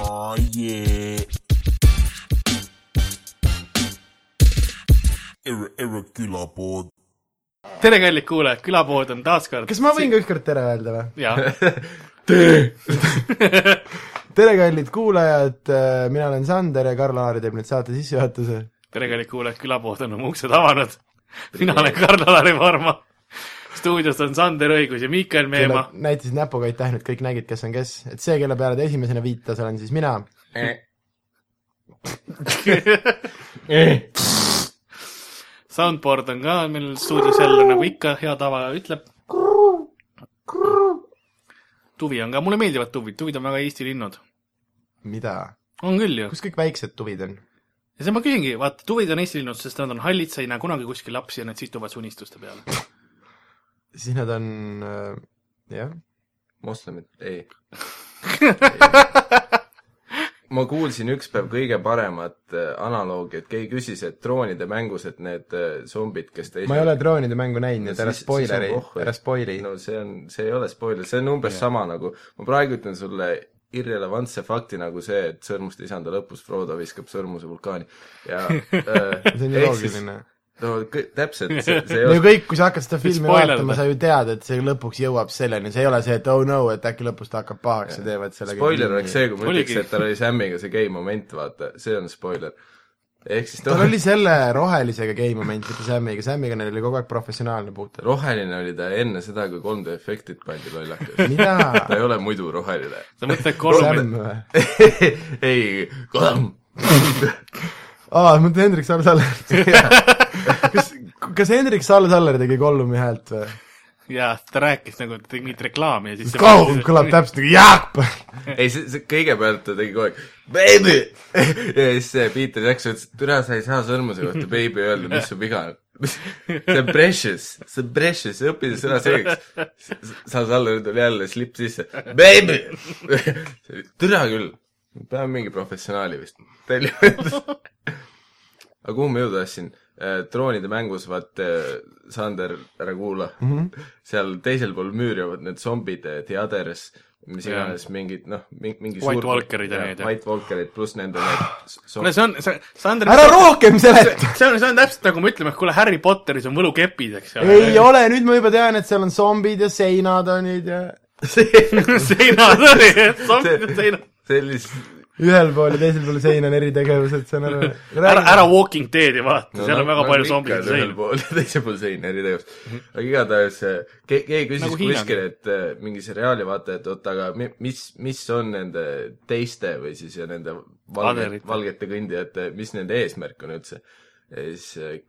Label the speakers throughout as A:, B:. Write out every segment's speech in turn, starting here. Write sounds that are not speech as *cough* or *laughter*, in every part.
A: Oh yeah. Irre- Irrekülapood .
B: tere , kallid kuulajad , külapood on taas kord .
C: kas ma võin ka ükskord tere öelda või ?
B: jah ,
C: tere , kallid kuulajad , mina olen Sander ja Karl-Laar teeb nüüd saate sissejuhatuse .
B: tere , kallid kuulajad , külapood on oma uksed avanud . mina olen Karl-Alari Varma . stuudios on Sander Õigus ja Miikael Meemaa .
C: näitasid näpuga aitäh , nüüd kõik nägid , kes on kes . et see , kelle peale ta esimesena viitas , olen siis mina .
B: *laughs*
C: Eh.
B: Soundboard on ka meil stuudios jälle nagu ikka , hea tava ütleb . tuvi on ka , mulle meeldivad tuvid , tuvid on väga Eesti linnud .
C: mida ?
B: on küll ju .
C: kus kõik väiksed tuvid on ?
B: ja siis ma küsingi , vaata , tuvid on Eesti linnud , sest nad on hallid , sa ei näe kunagi kuskil lapsi ja nad situvad su unistuste peale .
C: siis nad on äh, , jah ,
D: moslemid ,
C: *laughs*
D: ei ma kuulsin ükspäev kõige paremat äh, analoogi , et keegi küsis , et troonide mängus , et need äh, zombid , kes teised
C: ma ei ole droonide mängu näinud , nii et ära
D: Siis- siis on
C: spoileri
D: pohhu. ,
C: ära spoili .
D: no see on , see ei ole spoiler , see on umbes sama nagu , ma praegu ütlen sulle irrelevantse fakti nagu see , et sõrmuste isanda lõpus Frodo viskab sõrmuse vulkaani ja
C: *laughs*
D: äh,
C: see on ju loogiline .
D: no kõ- täpselt , see ,
C: *laughs*
D: see ei
C: no
D: ole
C: ju kõik , kui sa hakkad seda filmi
B: spoilerdada.
C: vaatama , sa ju tead , et see lõpuks jõuab selleni , see ei ole see , et oh no , et äkki lõpus ta hakkab pahaks ja teevad sellega
D: spoiler oleks see , kui ma
B: Oligi.
D: ütleks , et tal oli Samiga see gei moment , vaata , see on spoiler . ehk siis
C: tal oli selle rohelisega game moment , mitte Samiga , Samiga neil oli kogu aeg professionaalne puuter .
D: roheline oli ta enne seda , kui 3D efektid pandi lollakas . ta
C: mida ?
D: ei ole muidu roheline . *laughs*
B: sa mõtled
C: Sam
B: kolm ,
C: või ?
D: ei ,
C: aa , ma mõtlen Hendrik Saar-Saller .
B: *laughs*
C: kas , kas Hendrik Saar-Saller tegi Gollumi häält või ?
B: jaa , ta rääkis nagu , et tegi mingit reklaami ja siis
C: Gollum kõlab täpselt nagu Jaak .
D: *laughs* ei , see , see kõigepealt ta tegi kogu aeg baby *laughs* ja siis see Peter Jackson ütles , et türa , sa ei saa sõrmuse kohta baby öelda , mis su viga on . *laughs* see on precious , see on precious , õpi see sõna selgeks . saad alla , tuli jälle slip sisse , baby . *laughs* türa küll , peame mingi professionaali vist . aga kuhu ma jõuda tahtsin ? troonide mängus , vaat eh, Sander , ära kuula mm , -hmm. *laughs* seal teisel pool müüri on need zombid , the others , mis
B: Jah.
D: iganes mingid noh , mingi , mingi
B: White Walkerid ja need, jah.
D: White Walkerid pluss nende
B: *gasps*
D: need so
B: kuule , see on , see , Sander ,
C: ära rohkem seleta !
B: see on , see on täpselt nagu me ütleme , et kuule , Harry Potteris on võlukepid , eks
C: ei . ole , nüüd ma juba tean , et seal on zombid ja seinad on nüüd ja
D: *laughs*
B: *laughs* seinad oli , *laughs* zombid on seinad .
D: sellist ,
C: ühel pool ja teisel pool seina on eritegevused , saan aru .
B: ära , ära Walking Deadi vaata no, , seal on
D: nagu-
B: väga
D: nagu
B: palju
D: ikka,
B: zombisid
D: et ühel
B: seina .
D: pool *laughs* ja teisel pool sein , eritegevus . aga igatahes ke- , keegi küsis
B: Nagu
D: nagu
B: Hiina.
D: kuskil , et eh, mingi seriaali vaata , et oot , aga mi- mis , mis on nende teiste või siis ja nende valge,
B: Aderite.
D: valgete kõndijate , mis nende eesmärk on üldse ? ja siis eh,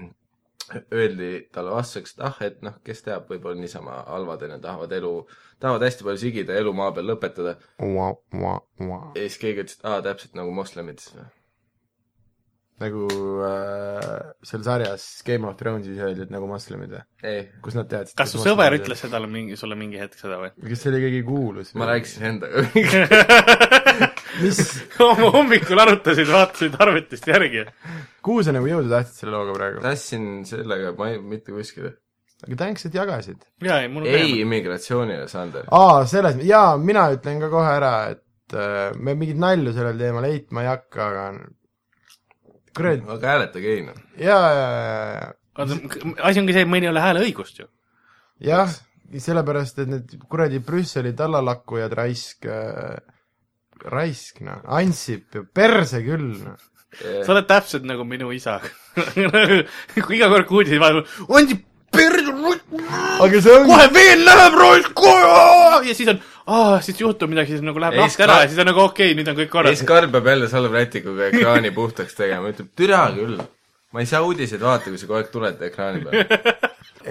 D: *clears throat* öeldi talle vastuseks , et ah , et noh , kes teab , võib-olla niisama halvad ja nad tahavad elu , tahavad hästi palju sigida ja elu maa peal lõpetada . ja siis keegi ütles , et aa , täpselt nagu moslemid siis või ?
C: nagu äh, seal sarjas Game of Thronesis öeldi , et nagu moslemid või ?
D: ei ,
C: kus nad teadsid ?
B: kas su sõber ütles ? seda mingi , sulle mingi hetk seda või ? *laughs*
C: kas see oli keegi kuulus ?
D: ma . rääkisin endaga *laughs*
C: mis ,
B: homme hommikul arutasid , vaatasid arvutist järgi .
C: kuhu sa nagu jõuda tahtsid selle looga praegu ?
D: tahtsin sellega , ma ei , mitte kuskile .
C: aga tänks , et jagasid .
B: jaa , ei , mul on
D: ei . immigratsioonile , Sander .
C: aa , selles , jaa , mina ütlen ka kohe ära , et äh, me mingit nalju sellel teemal heitma ei hakka , aga kurat ,
D: aga hääletage ei noh .
C: jaa , jaa , jaa ,
B: asi ongi see , et meil ei ole hääleõigust ju .
C: jaa , jah , sellepärast , et need kuradi Brüsseli tallalakkujad raisk äh, , raisk noh , Ansip ju , perse küll noh .
B: sa oled täpselt nagu minu isa . *laughs* kui iga kord kuulsid , on see perse ,
C: aga see ongi
B: kohe veel läheb roisk koju ja siis on , aa , siis juhtub midagi , siis nagu läheb
D: Ei,
B: lahti
D: Scar-
B: ära ja siis on nagu okei okay, , nüüd on kõik
D: ja
B: korras
D: siis . Karl peab jälle salvrätikuga ekraani puhtaks tegema , ütleb türa küll . ma ei saa uudiseid vaadata , kui sa kogu aeg tuled ekraani
B: *laughs*
D: peale .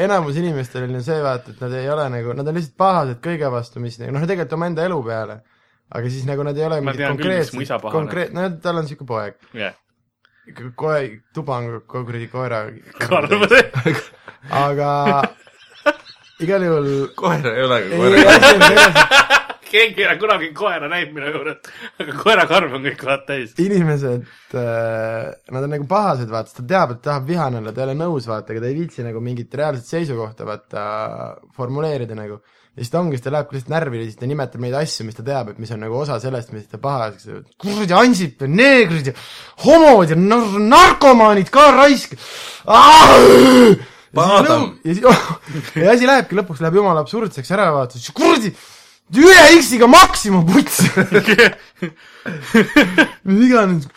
C: enamus inimestel on ju see vaata , et nad ei ole nagu , nad on lihtsalt pahased kõige vastu , mis nagu noh , tegelikult omaenda elu peale , aga siis nagu nad ei ole
B: Ma
C: mingid
B: tean küll, miks mu isa
C: konkreetsed ,
B: pahane.
C: konkreet- , no tal on niisugune poeg ,
B: jah ,
C: kohe tuba on ko- kuradi koera , *laughs*
B: Karl ,
C: aga igal juhul
D: koera ei ole , aga
C: ei ,
D: koera
C: asi on selles ,
B: keegi ei ole kunagi koera näinud minu juures , aga koerakarv on kõik vaat
C: *laughs*
B: täis .
C: et inimesed , nad on nagu pahased , vaata , sest ta teab , et tahab vihane olla , ta ei ole nõus , vaata , aga ta ei viitsi nagu mingit reaalset seisukohta , vaata , formuleerida nagu . ja siis ta ongi , siis ta lähebki lihtsalt närvi ja siis ta nimetab neid asju , mis ta teab , et mis on nagu osa sellest , mis ta paha ajaks , kuradi Ansip ja neegrid ja homod ja nar- , narkomaanid ka raisk .
D: Paadam.
C: ja siis *laughs* ja asi lähebki , lõpuks läheb jumala absurdseks äravaatuses , kuradi ühe X-iga Maxima puts , *laughs* mis iganes ,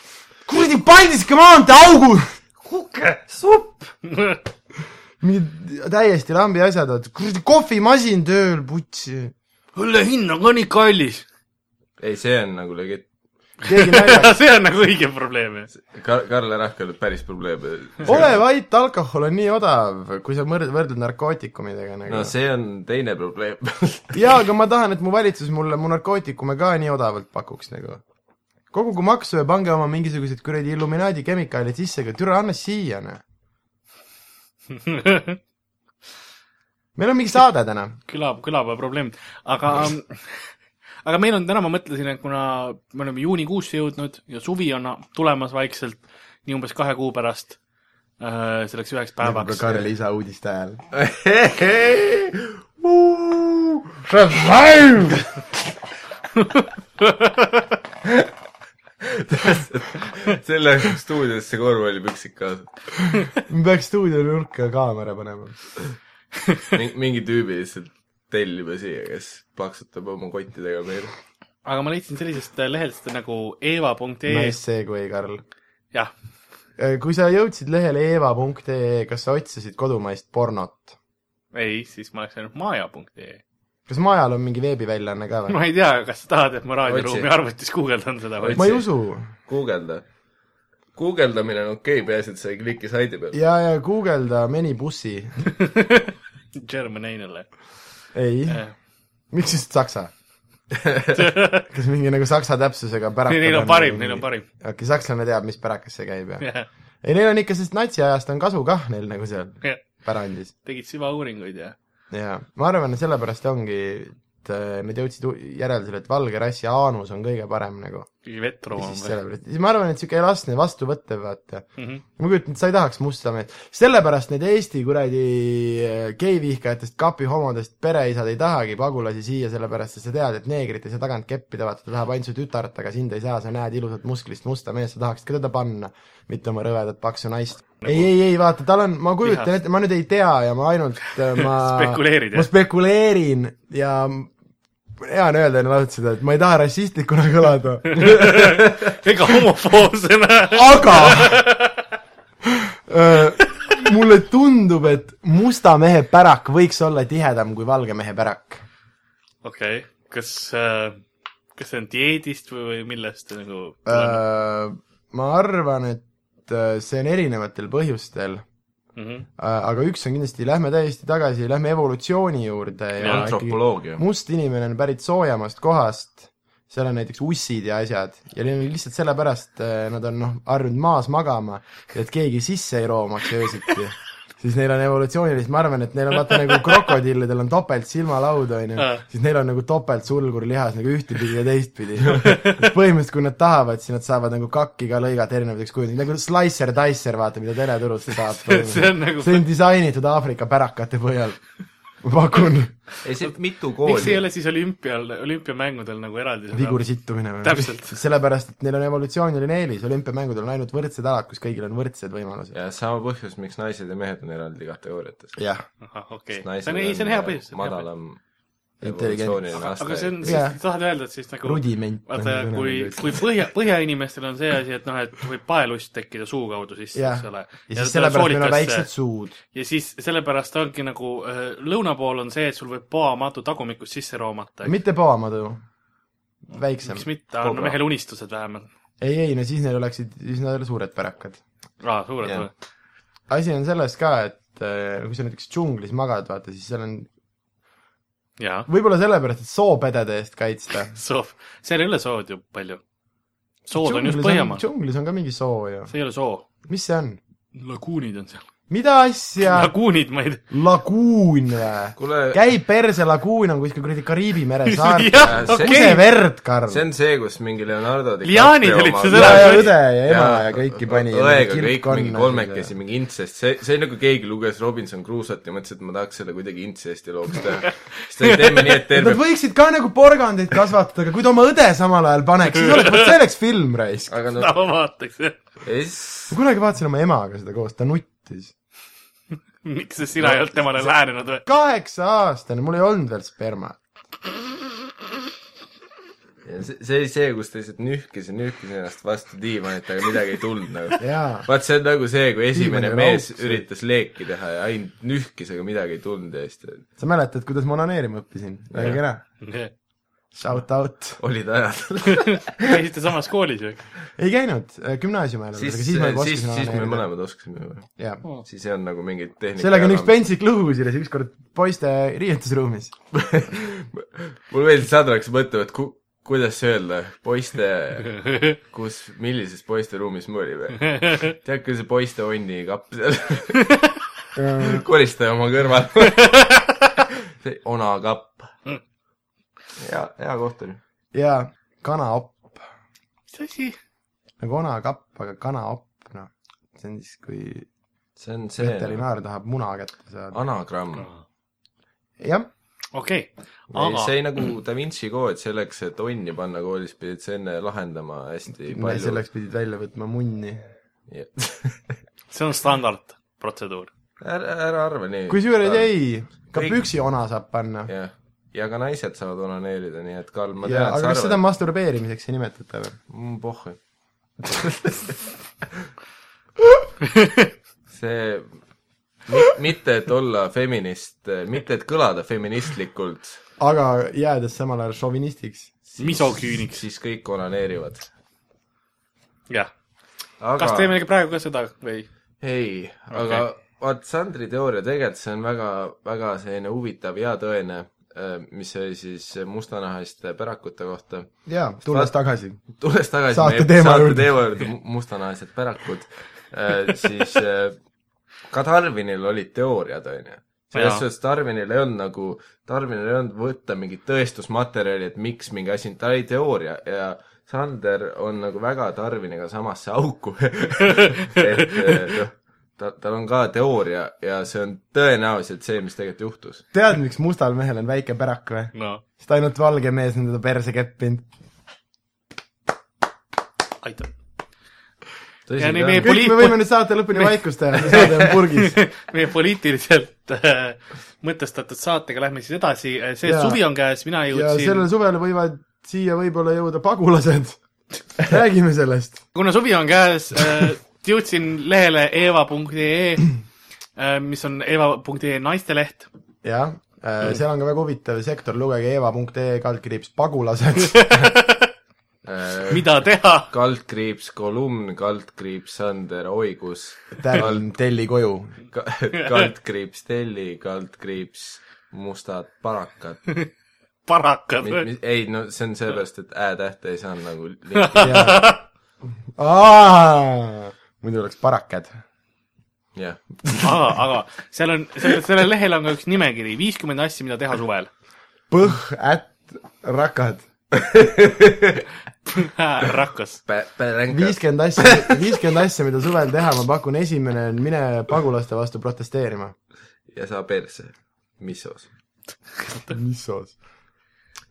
C: kuradi Paldiski maantee augu , huke , supp , mingid täiesti lambi asjad , kuradi kohvimasin tööl , putsi
B: *laughs* õlle hind on ka nii kallis .
D: ei , see on nagu legit- ,
C: keegi naljakas .
B: *laughs* see on nagu õige probleem .
D: Kar- , Karl Erahkel on päris probleem .
C: ole vait , alkohol on nii odav , kui sa mõrd- , võrdled narkootikumidega nagu
D: no
C: no, . See...
D: see on teine probleem *laughs*
C: jaa , aga ma tahan , et mu valitsus mulle mu narkootikume ka nii odavalt pakuks nagu . kogugu maksu ja pange oma mingisugused kuradi Illuminaadi kemikaalid sisse , aga türa anna siia , noh . meil on mingi saade täna .
B: küla , külapäeva probleem , aga , aga meil on täna , ma mõtlesin , et kuna me oleme juunikuusse jõudnud ja suvi on tulemas vaikselt , nii umbes kahe kuu pärast , selleks üheks päevaks .
C: Nagu Karli isa uudiste ajal .
D: *laughs* selle stuudiosse korvpallipüksid kaasa
C: me peaks stuudionurka kaamera panema .
D: Ming, mingi tüübi lihtsalt tellime siia , kes paksutab oma kottidega meile
B: aga ma leidsin sellisest lehest nagu eva.ee
C: Nice
B: nice. ,
C: segway , Karl .
B: jah ,
C: kui sa jõudsid lehele eeva.ee , kas sa otsisid kodumaist pornot ?
B: ei , siis ma oleks läinud maja.ee .
C: kas Majal on mingi veebiväljaanne ka või ?
B: ma ei tea , kas sa tahad , et ma
D: Otsi.
B: raadioruumi arvutis guugeldan seda või
D: Otsi. ?
C: ma ei usu .
D: guugelda . guugeldamine on okei okay, , peaasi , et sa ei kliki saidi peal .
C: ja , ja guugelda menibussi .
B: *laughs* German Anale .
C: ei ,
B: Äh.
C: miks just saksa ? *laughs* kas mingi nagu saksa täpsusega pärakas ?
B: *laughs* Neil on parim , neil on . parim .
C: okei , sakslane teab , mis pärakas see käib ja . ei , neil on ikka , sest natsiajast on kasu kah neil nagu seal pärandis .
B: tegid süvauuringuid ja
C: jaa , ma arvan , et sellepärast ongi , et äh, nad jõudsid u- järeldusele , et valge rassi aanus on kõige parem nagu .
B: mingi vett
C: ja
B: rooma
C: siis
B: või ? Mhm.
C: sellepärast , siis ma arvan , et sihuke elastne vastuvõttev , vaata ma kujutan ette , sa ei tahaks musta meest , sellepärast need Eesti kuradi äh, geivihkajatest , kapihomodest pereisad ei tahagi pagulasi siia , sellepärast et sa tead , et neegrit ei saa tagant keppida , vaata ta tahab ainult su tütart , aga sind ei saa , sa näed ilusat musklist musta meest , sa tahaksid ka teda panna , mitte oma rõvedat paksu naist . ei , ei , ei vaata , tal on , ma kujutan
B: Lihast.
C: ette , ma nüüd ei tea ja ma ainult , ma
B: Spekuleerid, jah?
C: ma spekuleerin ja hea on öelda enne lauset seda , et ma ei taha rassistlikuna kõlada
B: *laughs* ega
C: *laughs*
B: homofoobsena .
C: aga öö, Äh, mulle tundub , et musta mehe pärak võiks olla tihedam kui valge mehe pärak .
B: okei okay. , kas äh, , kas see on dieedist või , või millest see nagu
C: Äh,
B: tuleneb?
C: ma arvan , et öö, see on erinevatel põhjustel ,
B: Mhm. *laughs*
C: aga üks on kindlasti , lähme täiesti tagasi , lähme evolutsiooni juurde ja,
B: Ja
C: ja
D: antropoloogia .
C: must inimene on pärit soojemast kohast , seal on näiteks ussid ja asjad ja neil on lihtsalt sellepärast , nad on noh , harjunud maas magama , et keegi sisse ei roomaks
B: *laughs*
C: öösiti . siis neil on evolutsiooniliselt , ma arvan , et neil on vaata nagu krokodillidel on topelt silmalaud , onju , siis neil on nagu topelt sulgur lihas nagu ühtepidi ja teistpidi . põhimõtteliselt , kui nad tahavad , siis nad saavad nagu kakki ka lõigata erinevateks kujunditeks , nagu slicer , dicer , vaata , mida teleturult
B: *laughs*
C: saab .
B: See on nagu-
C: see on disainitud Aafrika pärakate põhjal , ma pakun
D: ei , see mitu
B: miks ei
D: kooli .
B: ole siis olümpial , olümpiamängudel nagu eraldi seda-
C: viguri sittumine või ?
B: Täpselt.
C: *laughs* sellepärast , et neil on evolutsiooniline eelis , olümpiamängudel on ainult võrdsed alad , kus kõigil on võrdsed võimalused .
D: ja sama põhjus , miks naised ja mehed on eraldi kategooriates .
C: jah ,
B: ahah , okei okay. , see on , ei , see on hea põhjus . aga
D: madalam
C: Intelligentsus.
D: evolutsiooniline aste .
B: aga see on ,
C: Jaa.
B: siis tahad öelda , et siis nagu
C: Rudiment on
B: vaata ,
C: kõne
B: kui
C: nagu- ,
B: kui põhja , põhjainimestel on see asi , et noh , et võib paelust tekkida suu kaudu sisse ,
C: jah
B: eks , ole .
C: ja siis sellepärast meil on väiksed suud .
B: ja siis sellepärast ongi nagu äh, lõuna pool on see , et sul võib poamatu tagumikust sisse roomata .
C: mitte poamadu , väiksem
B: miks . mitte , anna
D: Kobra.
B: mehele unistused vähemalt .
C: ei , ei , no siis neil oleksid üsna suured pärakad .
B: aa , suured
D: Jah.
B: või ?
C: asi on selles ka , et äh, kui sa näiteks džunglis magad , vaata , siis seal on ,
B: jaa ,
C: võib-olla sellepärast , et soopedede eest kaitsta .
B: soov . seal ei ole sood ju palju . sood on just Põhjamaal ,
C: džunglis on ka mingi soo ju .
B: see ei ole soo .
C: mis see on ?
B: laguunid on seal .
C: mida asja ?
B: laguunid , ma ei tea .
C: laguun või ?
D: kuule ,
C: käib perse , laguun on kuskil kuradi Kariibi
D: *laughs*
C: mere saar .
B: *laughs* jah ,
D: see-
B: okei
C: kuse , verd , Karl .
D: see on see , kus mingi Leonardo
B: Liaanid olid see
C: ja ,
B: sõna-
C: ja õde ja ema ja kõiki pani .
D: õega kõik mingi kolmekesi , mingi intsest , see , see on nagu keegi luges Robinson Crusoe't ja mõtles , et ma tahaks selle kuidagi intsesti looks teha . siis ta ei tee me nii , et
C: Nad
D: terve ,
C: võiksid ka nagu porgandeid kasvatada , aga kui ta oma õde samal ajal paneks , siis oleks , vot see oleks film raisk .
D: aga
B: seda
D: noh ,
B: *laughs* ma vaataks , jah .
D: ja siis
C: ma kunagi vaatasin oma emaga seda koos , ta nuttis .
B: miks sa sina ei olnud temale lähenenud või ? *laughs*
C: kaheksa aastane , mul ei olnud veel sperma .
D: ja see , see oli see , kus ta lihtsalt nühkis ja nühkis ennast vastu diivanit , aga midagi ei tulnud nagu .
C: jaa .
D: vaat see on nagu see , kui esimene
C: Diivani
D: mees
C: rauk, see-
D: üritas leeki teha ja ainult nühkis , aga midagi ei tulnud ja siis ta
C: sa mäletad , kuidas ma onaneerima õppisin ? väga kena . Shout out . *laughs*
D: olid ajal .
B: käisite samas koolis ju ? *laughs*
C: ei käinud äh, gümnaasiumi ajal ,
D: siis ,
C: aga
D: siis
C: siis ma juba ,
D: siis,
C: oskasin
D: siis me
C: onaneerida .
D: mõlemad oskasime juba .
C: jah .
D: siis ei olnud nagu mingit tehnikat .
C: sellega on üks
D: *laughs*
C: pentsik lugu kusjuures , ükskord poiste riietusruumis .
D: mul meeldis , Sandra hakkas mõtlema , et ku- , kuidas öelda , poiste , kus , millises poisteruumis me olime . tead , kui see poiste onni kapp seal *laughs* koristaja oma kõrval . *laughs* see ona kapp . hea , hea koht oli .
C: jaa , kanaopp ,
B: mis asi ?
C: nagu onakapp , aga kanaopp , noh . see on siis , kui
D: see on see
C: veterinaar tahab muna kätte saada .
D: anagramm .
C: jah ,
B: okei ,
D: Aga...
B: aga
D: see nagu Da Vinci kood , selleks , et onni panna koolis , pidid sa enne lahendama hästi palju .
C: selleks pidid välja võtma munni .
D: *laughs*
B: see on standardprotseduur .
D: ära , ära arva nii .
C: kusjuures ei , ka
D: Kõik-
C: püksi ona saab panna .
D: jah , ja ka naised saavad onaneerida , nii et Karl , ma
C: Ja,
D: tean , et
C: aga
D: sa
C: kas seda
D: arvad ,
C: masturbeerimiseks ei nimetata või ?
D: mm,
C: *laughs*
D: pohhu see , mitte , et olla feminist , mitte , et kõlada feministlikult ,
C: aga jäädes samal ajal šovinistiks .
B: misoküüniks ,
D: siis kõik onaneerivad .
B: jah .
D: aga
B: kas teeme praegu ka seda või ?
D: ei , aga vaat Sandri teooria tegelikult see on väga , väga selline huvitav ja tõene , mis oli siis mustanahaliste pärakute kohta
C: jaa , tulles tagasi .
D: tulles tagasi
C: Saate
D: meie
C: teema
D: saate
C: juurde.
D: teema juurde mu- mustanahalised pärakud , siis äh, ka Tarvinil olid teooriad , onju . selles
B: Jaa.
D: suhtes Tarvinil ei olnud nagu , Tarvinil ei olnud võtta mingit tõestusmaterjali , et miks mingi asi , ta oli teooria ja Sander on nagu väga Tarviniga samasse auku . *laughs* et äh, noh , ta , tal on ka teooria ja see on tõenäoliselt see , mis tegelikult juhtus .
C: tead , miks mustal mehel on väike pärak või ?
B: no
C: sest ainult valge mees on teda perse keppinud .
B: aitab . Ja nii meie
C: kõik
B: Poliit-
C: me võime nüüd saate lõpuni vaikust teha , saade on purgis .
B: *laughs* meie poliitiliselt äh, mõtestatud saatega lähme siis edasi , see
C: Jaa.
B: ja. suvi on käes , mina
C: ja
B: jõudsin
C: sellel
B: sellel... ,
C: suvel võivad siia võib-olla jõuda pagulased . räägime sellest .
B: kuna suvi on käes äh, , jõudsin lehele eeva.ee äh, , mis on eeva.ee naisteleht .
C: jah , seal on ka väga huvitav sektor , lugege eva.ee kaldkriips pagulased .
B: mida teha ?
D: äh, kaldkriips kolumn , kaldkriips Sander Oigus
C: tärn telli koju .
B: *laughs*
D: Ka- kaldkriips telli , kaldkriips mustad
B: *laughs*
D: parakad .
B: parakad või ?
D: ei , no see on sellepärast , et ä-tähte ei saanud
B: *laughs*
D: nagu lihtne.
C: muidu oleks parakad .
D: jah .
B: aga , aga seal on , sellel , sellel lehel on ka üks nimekiri , viiskümmend asja , mida teha suvel .
C: põh , ätt , rakad .
B: Äh, rakas .
D: Päränkad .
C: viiskümmend asja , viiskümmend asja , mida suvel teha , ma pakun , esimene on mine pagulaste vastu protesteerima .
D: ja saa perse . mis osa ?
C: mis soos ?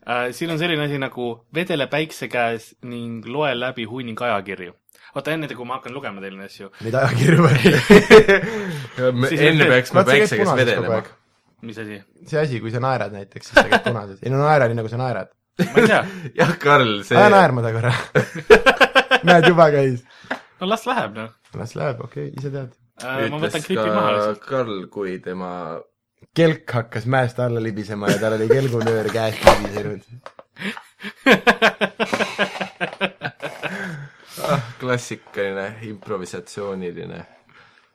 B: Äh, siin on selline asi nagu vedele päikse käes ning loe läbi hunnik ajakirju . vaata , enne kui ma hakkan lugema teile neid asju ,
C: Neid ajakirju või ?
B: Siis
D: enne
B: on-
D: peaks me
C: vaat sa käid
D: päiksega
C: punases kogu
D: vedelema
C: aeg ..
B: mis asi ,
C: see asi , kui sa naerad näiteks , siis sa käid punases . ei no naera nii , nagu sa naerad .
B: ma ei tea ,
D: jah , Karl , see
C: ära naerma ta korra . *laughs* näed , juba käis .
B: no las läheb noh
C: las läheb , okei okay, , ise tead .
B: äh, . ma võtan
D: ütles
B: klipi maha
D: ka
B: lihtsalt .
D: Karl , kui tema
C: kelk hakkas mäest alla libisema ja tal oli kelgunöör käest libisenud .
D: ah, klassikaline improvisatsiooniline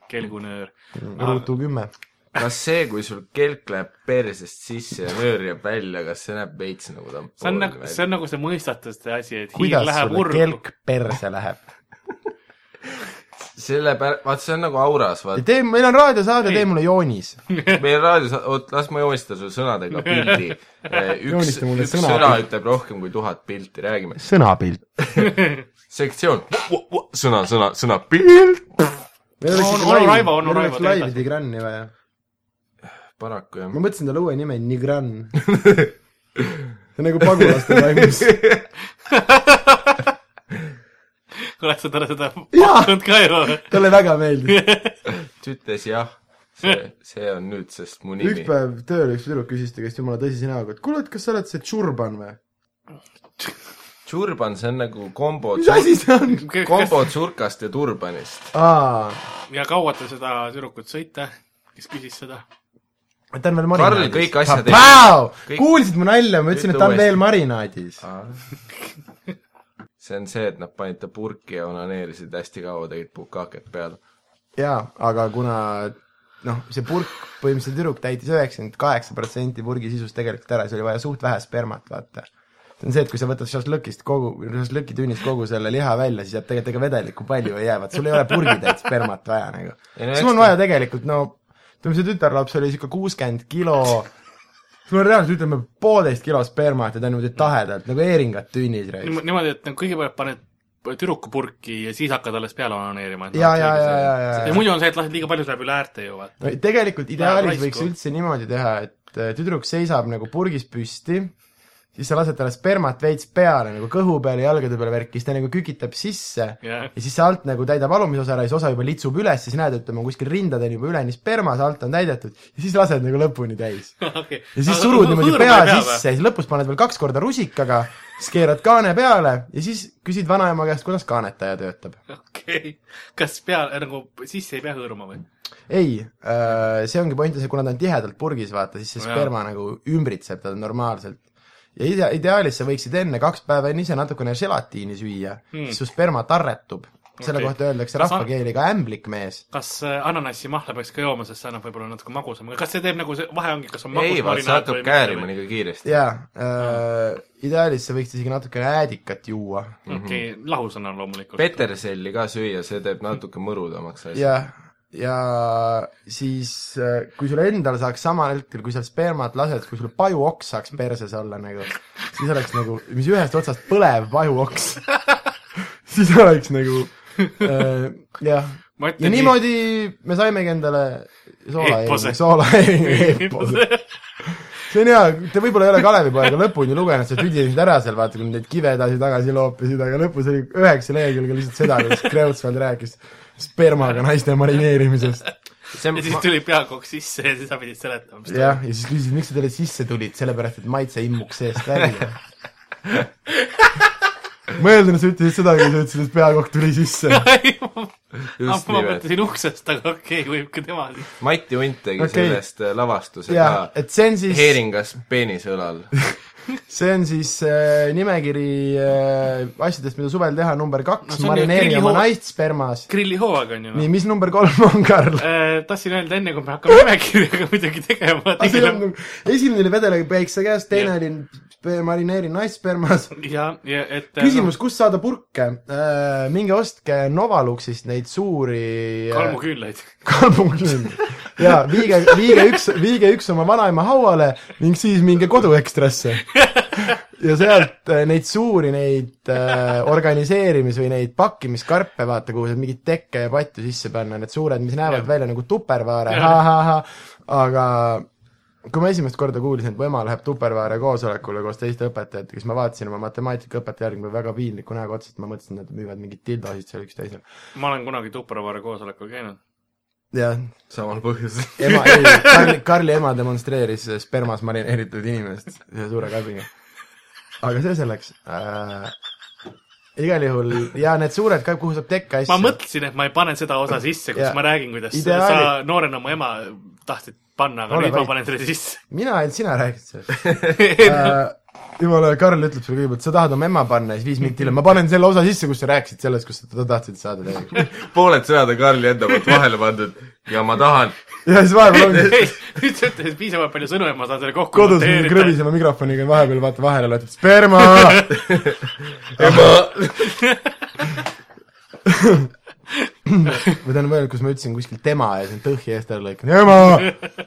B: kelgunöör .
C: Mm, ruutu kümme .
D: kas see , kui sul kelk läheb persest sisse ja nöör jääb välja , kas see näeb veits nagu tampoon
B: see on nagu , see on nagu see mõistatuste asi , et hiir
C: kuidas
B: läheb
C: sulle
B: urgu .
C: kelk perse läheb ?
D: selle pär- , vaat see on nagu auras , vaat .
C: tee , meil on raadiosaade ,
B: Ei.
C: tee mulle joonis .
D: meie raadios , oot , las ma joonistan su sõnadega
C: *laughs*
D: pildi . üks ,
C: Joonista mulle
D: üks
C: sõna-
D: sõna, ütleb rohkem kui tuhat pilti , räägime .
C: sõnapilt .
D: sektsioon , sõna , sõna , sõna , pilt .
B: on- on Raivo, on Raivo, tee
C: laivi
B: edasi.
C: Tigrani vaja .
D: paraku jah
C: ma . mõtlesin talle uue nime , Nigran . see on nagu pagulaste vaimus .
B: oled sa talle seda
C: Jaa.
B: pakkunud ka ju ?
C: talle väga meeldis .
D: ta ütles jah , see , see on nüüd , sest mu
C: üks
D: nimi .
C: päev tööl üks tüdruk küsis ta käest jumala tõsise näoga , et kuule , et kas sa oled see Tšurban või ?
D: Turban , see on nagu kombo ,
C: mis asi see on ?
D: kombo tsurkast ja
C: *laughs*
D: turbanist .
C: aa ,
B: ja kaua te seda tüdrukut sõite , kes küsis seda ?
C: ta on veel marinaadis .
D: kõik asjad ei-
C: ei .
D: kõik-
C: kuulsid mu nalja , ma ütlesin , et ta on
D: Ütle
C: veel
D: uuesti.
C: marinaadis .
D: see on see , et nad panid ta purki ja onaneerisid hästi kaua , tegid pukaket peale .
C: jaa , aga kuna noh , see purk , põhimõtteliselt tüdruk täitis üheksakümmend kaheksa protsenti purgi sisust tegelikult ära , siis oli vaja suht vähe spermat , vaata . see on see , et kui sa võtad šašlõkist kogu , šašlõkitünnist kogu selle liha välja , siis jääb tegelikult ega vedelikku palju ei jää , vaat sul ei ole purgitäit spermat vaja nagu .
D: Ei no
C: sul
D: eks
C: on
D: ta-
C: vaja tegelikult no , ütleme see tütarlaps oli sihuke kuuskümmend kilo , sul on reaalselt ütleme poolteist kilo spermat ja ta on niimoodi tahedalt nagu heeringat tünnis .
B: niimoodi , et nagu kõigepealt paned tüdruku purki ja siis hakkad alles peale onaneerima .
C: ja , ja , ja , ja , ja , ja
B: ja . muidu on see , et lased liiga palju läbi läärte ju , vaata .
C: no tegelikult ideaalis
B: raisku.
C: võiks üldse niimoodi teha , et äh, tüdruk seisab nagu purgis püsti , siis sa lased talle spermat veits peale nagu kõhu peale , jalgade peale värki , siis ta nagu kükitab sisse
B: Jah.
C: ja siis see alt nagu täidab alumise osa ära , siis osa juba litsub üles , siis näed , ütleme kuskil rindadeni juba üleni sperma , see alt on täidetud ja siis lased nagu lõpuni täis .
B: *laughs* Okay.
C: ja siis surud niimoodi pea sisse ja siis lõpus paned veel kaks korda rusikaga , siis keerad kaane peale ja siis küsid vanaema käest , kuidas kaanetaja töötab .
B: okei , kas pea , nagu sisse ei pea hõõruma või ?
C: ei , see ongi point , see kuna ta on tihedalt purgis , vaata , siis see
B: Jaa.
C: sperma nagu ümbritseb teda normaalselt . ja ide- , ideaalis sa võiksid enne kaks päeva enne ise natukene želatiini süüa
B: Hmm.
C: hmm. , siis su sperma tarretub . selle
B: Okei.
C: okay. kohta öeldakse
B: Kas sa-
C: rahvakeeli ka ämblikmees .
B: kas äh, ananassi mahla peaks ka jooma , sest see annab võib-olla natuke magusam , kas see teeb nagu see , vahe ongi , kas on magus
D: ei , vaat see
B: marinaat
D: hakkab
B: või mitte
D: käärima
B: või-
D: nii kiiresti .
C: jaa , ideaalis sa võiksid isegi natukene äädikat juua .
B: okei ,
D: Mhm.
B: lahusõna loomulikult .
D: peterselli ka süüa , see teeb natuke mõrudamaks asja .
C: jah , ja siis , kui sul endal saaks samal hetkel , kui sa spermat lased , kui sul pajuoks saaks perses olla nagu , siis oleks nagu , mis ühest otsast põlev pajuoks . *laughs* siis oleks nagu äh, jah ,
B: Ma ütlen
C: ja
B: nii- *laughs*
C: niimoodi me saimegi endale
B: Eepose.
C: soolaheeringu , soolaheeringu . see on hea , te võib-olla ei ole Kalevipoega lõpuni lugenud , sa tüdinesid ära seal , vaata , kui neid kive edasi-tagasi loopisid , aga lõpus oli üheksa lehekülge lihtsalt seda , kuidas Kreutzwald rääkis spermaga naiste marineerimisest .
D: see on
B: ja , siis tuli peakokk sisse ja siis sa pidid seletama , *laughs* mis
C: jah , ja siis küsisid , miks sa talle sisse tulid , sellepärast et maitse immuks seest välja . ma eeldan , et sa ütlesid seda , kui sa ütlesid , et peakokk tuli sisse .
B: toimub .
D: just
B: Ah, ma
D: nimelt .
B: mõtlesin uksest , aga okei okay, , võib ka tema siis .
D: Mati Unt tegi
C: Okei.
D: okay. sellest äh, lavastuse
C: jaa ,
D: ka .
C: et see on siis
D: heeringas peenise õlal .
C: *laughs* see on siis äh, nimekiri äh, asjadest , mida suvel teha , number
B: No
C: kaks
B: see
C: no, ,
B: on ju
C: marineeri oma
B: grillihoo-
C: naist spermas .
B: grillihooaeg on ju
C: nii , mis number kolm on , Karl ?
B: Äh, tahtsin öelda enne , kui me
C: *laughs*
B: hakkame nimekirjaga midagi tegema , tegeleme
C: esimene oli vedelapäikse käes , teine oli sp- marineeri naist spermas .
B: ja , ja et . äh,
C: küsimus , kust saada purke ? minge ostke Novaluxist neid suuri äh,
B: noh, kalmuküünlaid .
C: kalmuküün . ja viige , viige üks , viige üks oma vanaema hauale ning siis minge koduekstrasse . ja sealt äh, neid suuri , neid äh, organiseerimis- või neid pakkimiskarpe , vaata , kuhu saab mingit tekke ja patju sisse panna , need suured , mis näevad
B: Jah.
C: välja nagu tupervaare ,
B: Jah.
C: ha-ha-ha , aga kui ma esimest korda kuulsin , et mu ema läheb Tupperware koosolekule koos teiste õpetajatega , siis ma vaatasin oma matemaatikaõpetaja järgi , mul väga piinliku näoga otsa , et ma mõtlesin , et nad müüvad mingeid dildosid seal üksteisele .
B: ma olen kunagi Tupperware'i koosolekul käinud .
C: jah ,
D: samal põhjusel .
C: ema , ei , Karli , Karli ema demonstreeris spermas marineeritud inimest ühe suure kabiga . aga see selleks äh, . igal juhul ja need suured ka , kuhu saab tekke
B: ma
C: asju .
B: mõtlesin , et ma ei pane seda osa sisse , kus
C: Ja.
B: ma räägin , kuidas
C: Ideaali-
B: sa noorena mu ema tahtsid panna , aga
C: Ole
B: nüüd ma
C: vait.
B: panen selle sisse .
C: mina , et sina räägid sellest *laughs*
B: *laughs*
C: äh, . jumala , Karl ütleb sulle kõigepealt , sa tahad oma emma panna ja siis viis minutit hiljem , ma panen selle osa sisse , kus sa rääkisid sellest , kus sa teda tahtsid saada tegelikult .
D: *laughs* pooled sõjad on Karli enda poolt vahele pandud ja ma tahan .
C: ja siis vahepeal ongi
B: nüüd sa ütlesid piisavalt palju sõnu ja ma saan selle kokku
C: kodus mingi krõbisema mikrofoniga on vahepeal vaata vahele loetud sperma .
D: ema .
C: või tähendab veel , kus ma ütlesin kuskil tema ja siis on tõhi eest ära lõikanud , ema .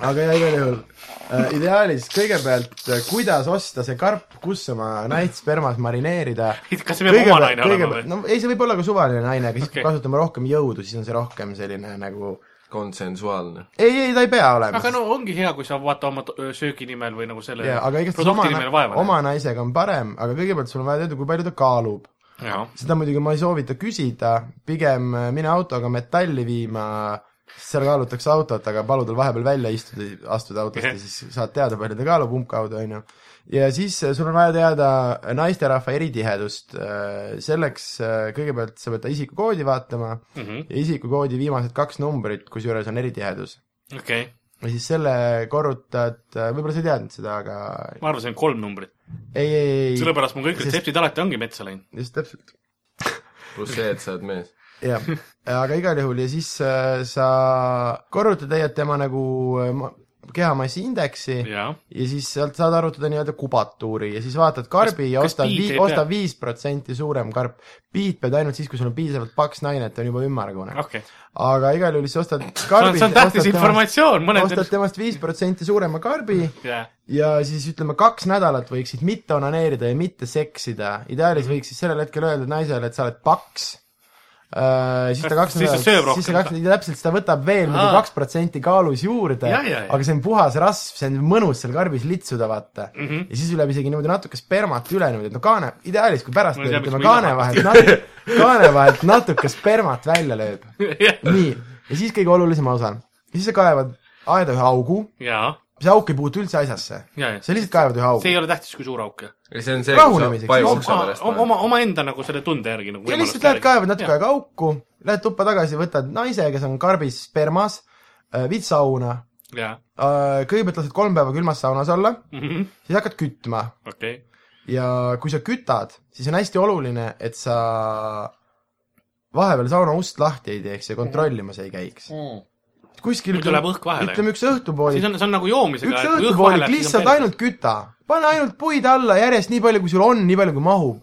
C: aga jah , igal juhul äh, ideaalis kõigepealt , kuidas osta see karp , kus oma näit spermas marineerida .
B: kas see peab oma naine olema või ?
C: no ei , see võib olla ka suvaline naine , aga siis
B: Okei.
C: okay. kasutame rohkem jõudu , siis on see rohkem selline nagu
D: konsensuaalne .
C: ei , ei ta ei pea olema .
B: aga no ongi hea , kui sa vaata oma to- söögi nimel või nagu selle
C: jaa , aga igatahes
B: produkti
C: oma
B: nimel , vaeva
C: oma naisega on parem , aga kõigepealt sul on vaja teada , kui palju ta kaalub .
B: näha .
C: seda muidugi ma ei soovita küsida , pigem äh, mine autoga metalli viima , seal kaalutakse autot , aga palu tal vahepeal välja istuda , astuda autost ja siis saad teada , palju ta kaalub umbkaudu , on ju . ja siis äh, sul on vaja teada naisterahva eritihedust , selleks äh, kõigepealt sa pead ta isikukoodi vaatama
B: Mhm.
C: ja isikukoodi viimased kaks numbrit , kusjuures on eritihedus .
B: okei ,
C: ja siis selle korrutad , võib-olla sa ei teadnud seda , aga
B: ma arvan , see on kolm numbrit .
C: ei , ei , ei ,
B: sellepärast mu kõik
C: Sest-
B: retseptid alati ongi metsa läinud .
C: just täpselt .
D: pluss see , et sa oled mees .
B: *laughs*
C: jah , aga igal juhul ja siis äh, sa korrutad tegelikult tema nagu äh, ma- kehamassi indeksi ja.
B: jaa .
C: ja siis sealt saad arvutada nii-öelda kubatuuri ja siis vaatad karbi
B: Kas- kas
C: kas, ja osta
B: piit ei
C: vii,
B: pea?
C: osta viis protsenti suurem karp . piit pead ainult siis , kui sul on piisavalt paks naine , et ta on juba ümmargune .
B: okei ,
C: aga igal juhul siis ostad
B: Ah. see on ,
C: karbi
B: see on tähtis informatsioon , mõned
C: ostad temast viis protsenti suurema karbi
B: jaa ,
C: ja siis ütleme , kaks nädalat võiksid mitte onaneerida ja mitte seksida , ideaalis võiks siis sellel hetkel öelda naisele , et sa oled paks . Uh, siis ta kaks
B: Siis ta sööb rohkem.
C: siis ta kaks , täpselt , siis ta võtab veel mingi
B: Aa.
C: kaks protsenti kaalus juurde ,
B: Ja, ja, ja.
C: aga see on puhas rasv , see on mõnus seal karbis litsuda , vaata mm .
B: Mhm.
C: ja siis tuleb isegi niimoodi natuke spermat üle niimoodi , et no kaane , ideaalis kui pärast
B: Ma ei tea,
C: lööb tema
B: miks ma
C: kaane
B: ilma
C: vahelt nat- ,
B: *laughs*
C: kaane vahelt natuke spermat välja lööb . nii , ja siis kõige olulisem osa , siis sa kaevad aeda ühe augu ,
B: jaa ,
C: see auk ei puutu üldse asjasse
B: jaa , jaa .
C: sa lihtsalt kaevad ühe augu
B: see . ei ole tähtis , kui suur auk .
D: ja see on see , kus sa
C: Rahunemiseks.
D: paju
C: No,
D: ukse
B: oma
D: pärast ,
B: oma , omaenda nagu selle tunde järgi nagu
C: ja lihtsalt lähed
B: järgi.
C: kaevad natuke
B: Jaa.
C: aega auku , lähed tuppa tagasi , võtad naise , kes on karbis spermas , viid sauna ,
B: jaa ,
C: kõigepealt lased kolm päeva külmas saunas olla , siis hakkad kütma
B: okei ,
C: ja kui sa kütad , siis on hästi oluline , et sa vahepeal sauna ust lahti ei teeks ja kontrollimas ei käiks .
D: Mm.
C: kuskil
B: Muidu läheb Mm. õhk vahele.
C: ütleme üks õhtupoolik
B: siis , on , see on nagu joomisega .
C: üks õhtupoolik lihtsalt . ainult küta , pane ainult puid alla järjest nii palju , kui sul on , nii palju kui mahub .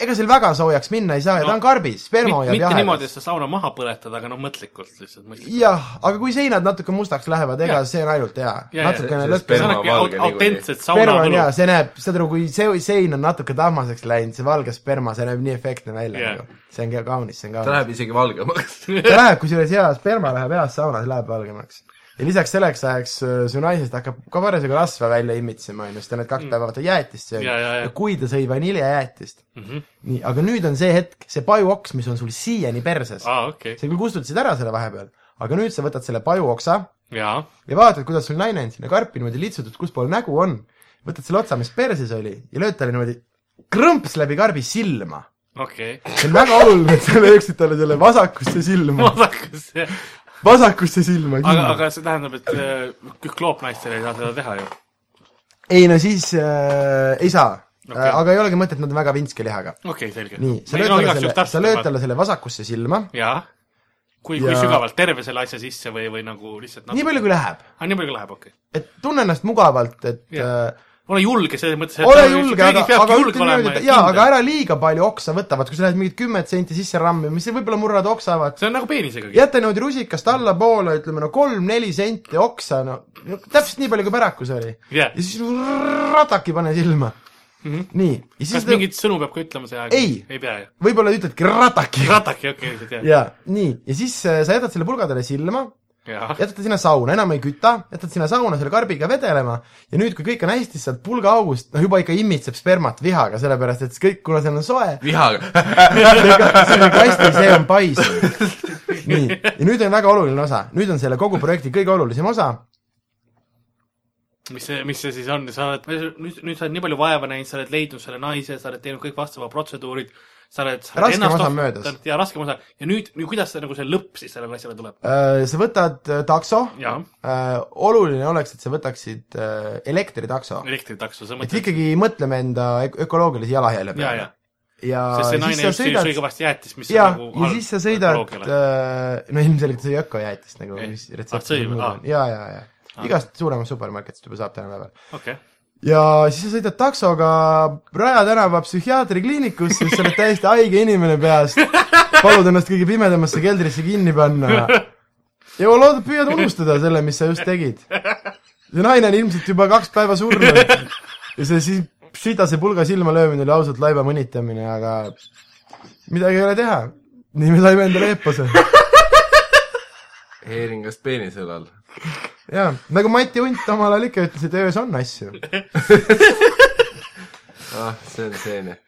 C: ega seal väga soojaks minna ei saa ja
B: No,
C: ta on karbis , sperma
B: mitte
C: hoiab
B: jahedas. niimoodi ,
C: jahedas
B: et . sa sauna maha põletad , aga noh , mõtlikult lihtsalt mõtlikult .
C: jah , aga kui seinad natuke mustaks lähevad , ega
B: Jah.
C: see on ainult hea ,
B: ja,
C: natukene
D: see
C: lõhkes
B: see on
D: sperma
B: nagu
D: valge
B: aut-
D: niikuinii.
B: autentset sauna
C: sperma on
B: võlu
C: hea ,. see näeb , saad aru , kui see sein on natuke tahmaseks läinud , see valge sperma , see näeb nii efektne välja
B: Jah.
C: nagu . see on ka kaunis , see on
D: ta
C: kaunis .
D: läheb isegi
C: *laughs*
D: valgemaks .
C: ta läheb , kusjuures hea sperma läheb heas saunas , läheb valgemaks . ja lisaks selleks ajaks äh, su naisest hakkab ka parasjagu rasva välja imitsema , on ju , sest ta need kaks päeva vaata jäätist söönud
B: Mm. Ja, ja, ja.
C: ja kui ta sõi vaniljejäätist mm .
B: Mhm.
C: -hmm. nii , aga nüüd on see hetk , see pajuoks , mis on sul siiani perses ,
B: aa , okei ,
C: sa küll kustutasid ära selle vahepeal , aga nüüd sa võtad selle pajuoksa
B: jaa ,
C: ja vaatad , kuidas sul naine on sinna karpi niimoodi litsutud , kuspool nägu on , võtad selle otsa , mis perses oli ja lööd talle niimoodi krõmps läbi karbi silma .
B: okei .
C: see on väga oluline , et sa lööksid talle selle vasakusse silma .
B: vaadakas see .
C: vasakusse silma
B: aga ,
C: kinni.
B: aga see tähendab , et äh, kühkloopnaistel ei saa seda teha ju .
C: ei no siis äh, ei saa okay.
B: Okei.
C: äh, , aga ei olegi mõtet , nad on väga vintske lihaga .
B: okei , selge .
C: nii , sa lööd talle selle , sa lööd . talle selle vasakusse silma ,
B: jaa . kui , kui
C: Ja-
B: sügavalt , terve selle asja sisse või , või nagu lihtsalt
C: nii palju kui läheb ,
B: aa , nii palju kui läheb , okei .
C: et tunne ennast mugavalt , et
B: Jah.
C: yeah.
B: ole julge selles mõttes , et
C: ole julge , aga , aga
B: aga
C: ütle niimoodi , et jaa , aga . ära liiga palju oksa võta , vaat kui sa lähed mingid kümmet senti sisse rammima , siis võib-olla murrad oksa , vaat
B: see on nagu peenisegagi .
C: jäta niimoodi rusikast allapoole , ütleme no kolm-neli senti oksa , no no täpselt nii palju , kui pärakus oli .
B: jah Mhm.
C: ja . siis rataki pane silma mm . -hmm. nii , ja siis
B: kas
C: ta-
B: mingeid sõnu peab ka ütlema see aeg ?
C: Ei.
B: ei pea ju .
C: võib-olla ütledki rataki .
B: rataki , okei , sa tead .
C: jaa , nii , ja siis äh, sa jätad selle pulga talle silma ,
B: jah .
C: jätad ta sinna sauna , enam ei küta , jätad sinna sauna selle karbiga vedelema ja nüüd , kui kõik on hästi , siis sealt pulgaaugust , noh juba ikka imitseb spermat vihaga , sellepärast et see kõik , kuna seal on soe ,
D: *laughs*
C: *laughs*
D: vihaga .
C: see on kasti , see on pais . nii , ja nüüd on väga oluline osa , nüüd on selle kogu projekti kõige olulisem osa ,
B: mis see , mis see siis on , sa oled , nüüd , nüüd sa oled nii palju vaeva näinud , sa oled leidnud selle naise , sa oled teinud kõik vastava protseduurid , sa oled .
C: Raskem osa on möödas.
B: ja raskem osa ja nüüd, nüüd , kuidas see nagu see lõpp siis sellele asjale tuleb ?
C: sa võtad äh, takso ,
B: jah ,
C: oluline oleks , et sa võtaksid äh, elektritakso .
B: elektritakso , sa
C: et
B: mõtled .
C: ikkagi mõtleme enda öko- ökoloogilise jalajälje
B: ja ,
C: peale
B: ja ,
C: ja
B: sest see
C: siis
B: naine
C: sa
B: just sõi
C: sõidad
B: sõi nagu kõvasti jäätist , mis
C: ja ,
B: on
C: ja siis sa sõidad , no ilmselgelt sõi ökojäätist nagu ,
B: Ei.
C: mis
B: Ah, sõi
C: retseptis
B: või?
C: muud
B: Ah.
C: on , ja , ja , ja igast suuremast supermarketist juba saab tänapäeval .
B: okei , *laughs*
C: ja siis sa sõidad taksoga Raja tänava psühhiaatrikliinikusse , siis sa oled täiesti haige inimene peast , palud ennast kõige pimedamasse keldrisse kinni panna ja ma loodan , püüad unustada selle , mis sa just tegid . see naine on ilmselt juba kaks päeva surnud ja see siis sitase pulga silma löömine oli ausalt laiba mõnitamine , aga midagi ei ole teha . nii me saime endale eepose .
D: heeringast peenisel all .
C: jaa , nagu Mati Unt omal ajal ikka ütles , et öös on asju
D: ah , see on selline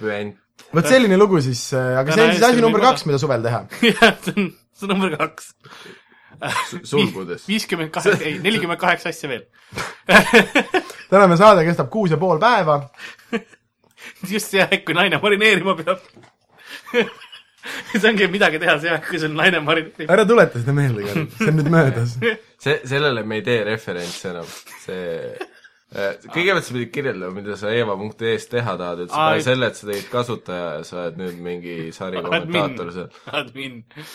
D: püent .
C: vot selline lugu siis , aga see on siis asi number kaks , mida suvel teha .
B: jah , see on , see on number kaks .
D: sulgudes.
B: viiskümmend kaheksa , ei , nelikümmend kaheksa asja veel . *laughs*
C: tänane saade kestab kuus ja pool päeva .
B: just see aeg , kui naine marineerima peab . *laughs* see ongi midagi teha , see aeg , kui sul naine marineerib .
C: ära tuleta seda meelde , see on nüüd möödas .
D: see , sellele me ei tee referentsi enam , see äh, kõigepealt sa pidid kirjeldama , mida sa eva.ee-s teha tahad , et sa
B: Aa,
D: pead
B: et-
D: selle , et sa tegid kasutaja ja sa oled nüüd mingi sari kommentaator seal .
B: admin . *laughs*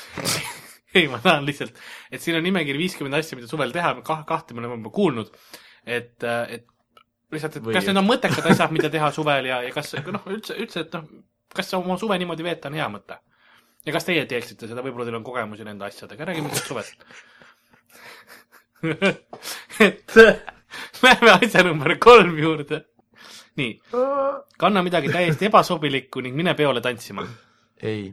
B: ei , ma tahan lihtsalt , et siin on nimekiri viiskümmend asja , mida suvel teha , kah- , kahte me oleme juba kuulnud . et , et lihtsalt , et
D: Või-
B: kas need on mõttekad asjad , mida teha suvel ja , ja kas noh , üldse , üldse , et noh , kas oma suve niimoodi veeta on hea mõte ? ja kas teie teeksite seda , võib-olla teil on kogemusi nende asjadega , räägime lihtsalt suvest . *laughs* et *laughs* lähme asja number kolm juurde . nii , kanna midagi täiesti ebasobilikku ning mine peole tantsima
C: *laughs* ei ,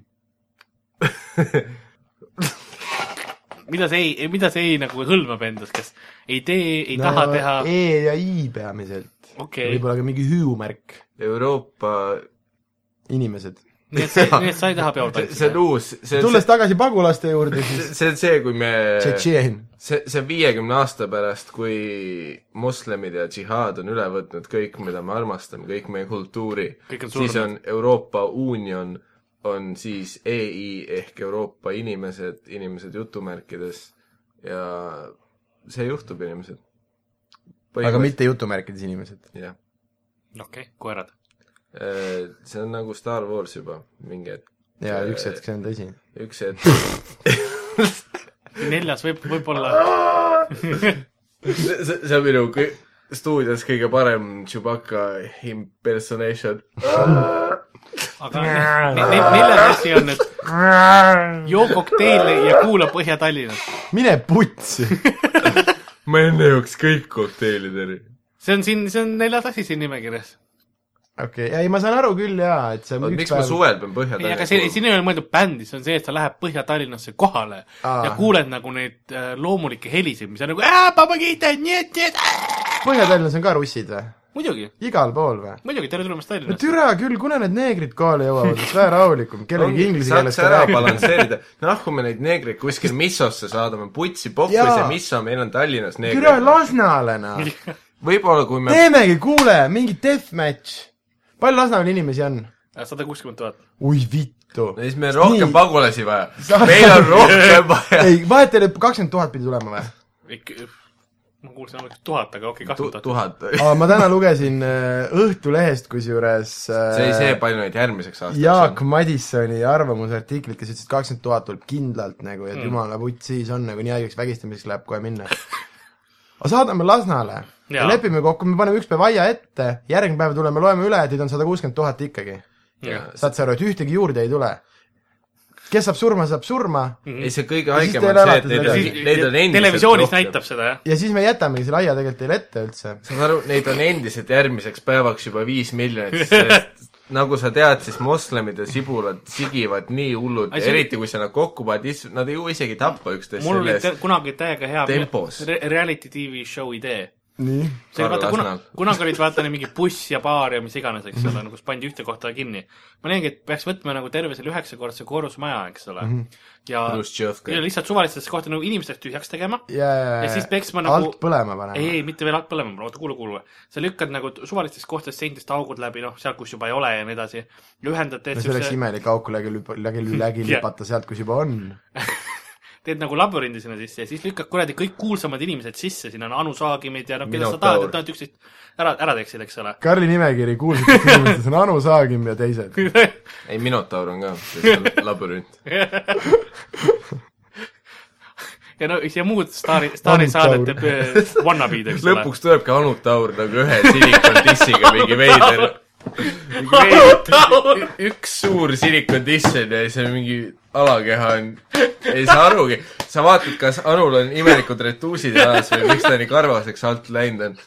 B: mida see ei , mida see ei nagu hõlmab endas , kas ei tee , ei no, taha teha ,
C: E ja I peamiselt .
B: okei ,
C: võib-olla ka mingi hüüumärk ,
D: Euroopa ,
C: inimesed .
B: nii et sa , nii et sa ei taha peol
D: see on
B: tantsida .
D: uus , see on
C: tulles tagasi pagulaste juurde , *laughs* siis
D: see on see , kui me ,
C: Tšetšeen .
D: see , see on viiekümne aasta pärast , kui moslemid ja džihaad on üle võtnud kõik , mida me armastame , kõik meie kultuuri
B: Kõik on , surnud.
D: siis on Euroopa Union , on siis EI ehk Euroopa inimesed , inimesed jutumärkides ja see juhtub , inimesed .
C: aga . mitte jutumärkides inimesed .
D: jah ,
B: nagu- okei , koerad .
D: see on nagu Star Wars juba mingi hetk ,
C: ja üks hetk , see on tõsi .
D: üks hetk .
C: *laughs*
B: neljas võib , võib-olla ,
D: see , see see on minu kõi- stuudios kõige parem Chewbacca impersonation .
B: aga ne- ne- neljas asi on , et joo kokteile ja kuula Põhja-Tallinnas .
C: mine *laughs* putsi .
D: ma enne jooks kõik kokteilid ära .
B: see on siin , see on neljas asi siin nimekirjas .
C: okei , ei ma saan aru küll jaa , et see on
D: miks ma suvel pean põhja
B: ei , aga see , siin ei ole mõeldud bändi , see on see , et sa lähed Põhja-Tallinnasse kohale
C: Aa.
B: Aa. ja kuuled nagu neid äh, loomulikke helisid , mis on nagu "Aa, pomogite, nii et , nii et ,
C: Põhja-Tallinnas on ka russid või ?
B: muidugi ,
C: igal pool või ?
B: muidugi , tere tulemast
C: no
B: Tallinnasse .
C: türa küll , kuna need neegrid kohale jõuavad , siis vähe rahulikum , kellelgi inglise
D: saaks
C: keeles
D: ära
C: rääkida .
D: balansseerida , nahku me neid neegreid kuskil Missosse saadame , putsi pohvis
C: Jaa.
D: ja Misso , meil on Tallinnas
C: türa
D: neegreid .
C: Lasnale noh ,
B: *laughs*
D: võib-olla kui me ,
C: teemegi , kuule , mingi deathmatch . palju Lasnamäel inimesi on ?
B: sada Äh, kuuskümmend tuhat .
C: oi vittu .
D: siis meil on rohkem
C: Nii.
D: pagulasi vaja
C: Sa- .
D: meil on
C: *laughs*
D: rohkem vaja .
C: ei , vahet ei ole , kakskümmend tuhat pidi tulema või ?
B: ikka , äh, ma kuulsin ainult tuhat , aga okei okay, , kakskümmend tuhat .
D: tuhat oli .
C: ma täna lugesin äh, Õhtulehest kusjuures äh,
D: see , see palju neid järgmiseks aastaks
C: Jaak
D: on .
C: Madissoni arvamusartiklit , kes ütles , et kakskümmend tuhat tuleb kindlalt nagu , et mm. jumala vutt siis on nagu nii haigeks vägistamiseks läheb kohe minna . aga saadame Lasnale ja
B: Jaa.
C: lepime kokku , me paneme üks päev aia ette , järgmine päev tuleme , loeme üle , et neid on sada kuuskümmend tuhat ikkagi . saad sa aru , et ühtegi juurde ei tule . kes saab surma , saab surma
D: ei , see kõige
C: Ja siis
D: haigem
C: teil
D: on see ,
C: elate
D: et neid
C: seda
D: on ,
C: edasi.
D: neid on endiselt
B: televisioonis
D: rohkem.
B: näitab seda , jah .
C: ja siis me jätamegi selle aia tegelikult teile ette üldse .
D: saad aru , neid on endiselt järgmiseks päevaks juba viis miljonit ,
B: *laughs*
D: sest nagu sa tead , siis moslemid ja sibulad sigivad nii hullult ,
B: Asi-
D: eriti kui sa nad kokku paned , siis nad ei jõua isegi tappa
B: *laughs*
D: üksteist
B: mul
D: selle
B: oli
D: eest
B: te- . kunagi täiega hea
D: Tempos.
B: re reality tv show idee .
C: nii .
B: see oli
D: Karl
B: vaata , kuna
D: Lasnal. ,
B: kunagi olid vaata nii mingi buss ja baar ja mis iganes , eks ole , kus pandi ühte kohta kinni . ma näengi , et peaks võtma nagu terve selle üheksakordse korrusmaja , eks ole mm . -hmm. ja,
D: Pluss Tšõhvka.
B: ja lihtsalt suvalistesse kohta nagu inimestest tühjaks tegema
C: ja , ja ,
B: ja siis peksma nagu
C: alt põlema panema .
B: ei , ei , mitte veel alt põlema panna , oota , kuule , kuule . sa lükkad nagu t- suvalistest kohtadest seintest augud läbi , noh , seal , kus juba ei ole ja nii edasi . ja ühendad teed
C: no see oleks imelik auku läbi lüpa- ,
B: *laughs*
C: läbi , läbi
B: Jah.
C: lüpata sealt , kus juba on .
B: *laughs* teed nagu labürindi sinna sisse ja siis lükkad kuradi kõik kuulsamad inimesed sisse , siin on Anu Saagimid ja noh , keda sa
D: Minotaur.
B: tahad , et nad üksteist ära , ära teeksid , eks ole . *laughs*
C: Karli nimekiri kuulsatest inimestest on Anu Saagim ja teised .
D: ei , Minotaur on ka , see on labürint .
B: ja no ja muud staari , staarisaadete p- wannabe'd , eks ole .
D: *laughs* lõpuks tuleb ka Anu Taur nagu ühe silikon dissiga mingi veider . üks suur silikon diss on ja siis on mingi alakeha on , ei saa arugi , sa vaatad , kas Anul on imelikud retuusid jalas või miks ta nii karvaseks alt läinud on .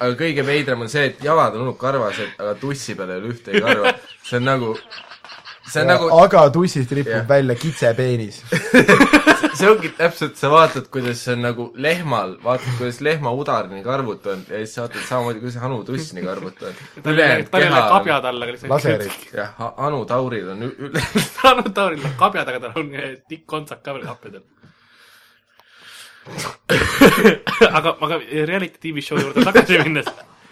D: aga kõige veidram on see , et jalad on olnud karvased , aga tussi peal ei ole ühtegi karva . see on nagu , see on nagu ,
C: aga tussist ripub
D: Jah.
C: välja
D: *laughs*
C: kitsepeenis .
D: see ongi täpselt , sa vaatad , kuidas see on nagu lehmal , vaatad , kuidas lehma udar nii karvutu on ja siis vaatad samamoodi , kuidas Anu tuss nii karvutu on .
B: *laughs* tal ei ole
D: ülejäänud keha on ,
B: kabjad all , aga lihtsalt .
C: laserid .
D: jah , Anu Tauril on ü- *laughs* üle ,
B: Tarmo Tauril on kabjad , aga tal on eh, tikk kontsak ka veel kapjadel . aga , aga reality tv show juurde tagasi minnes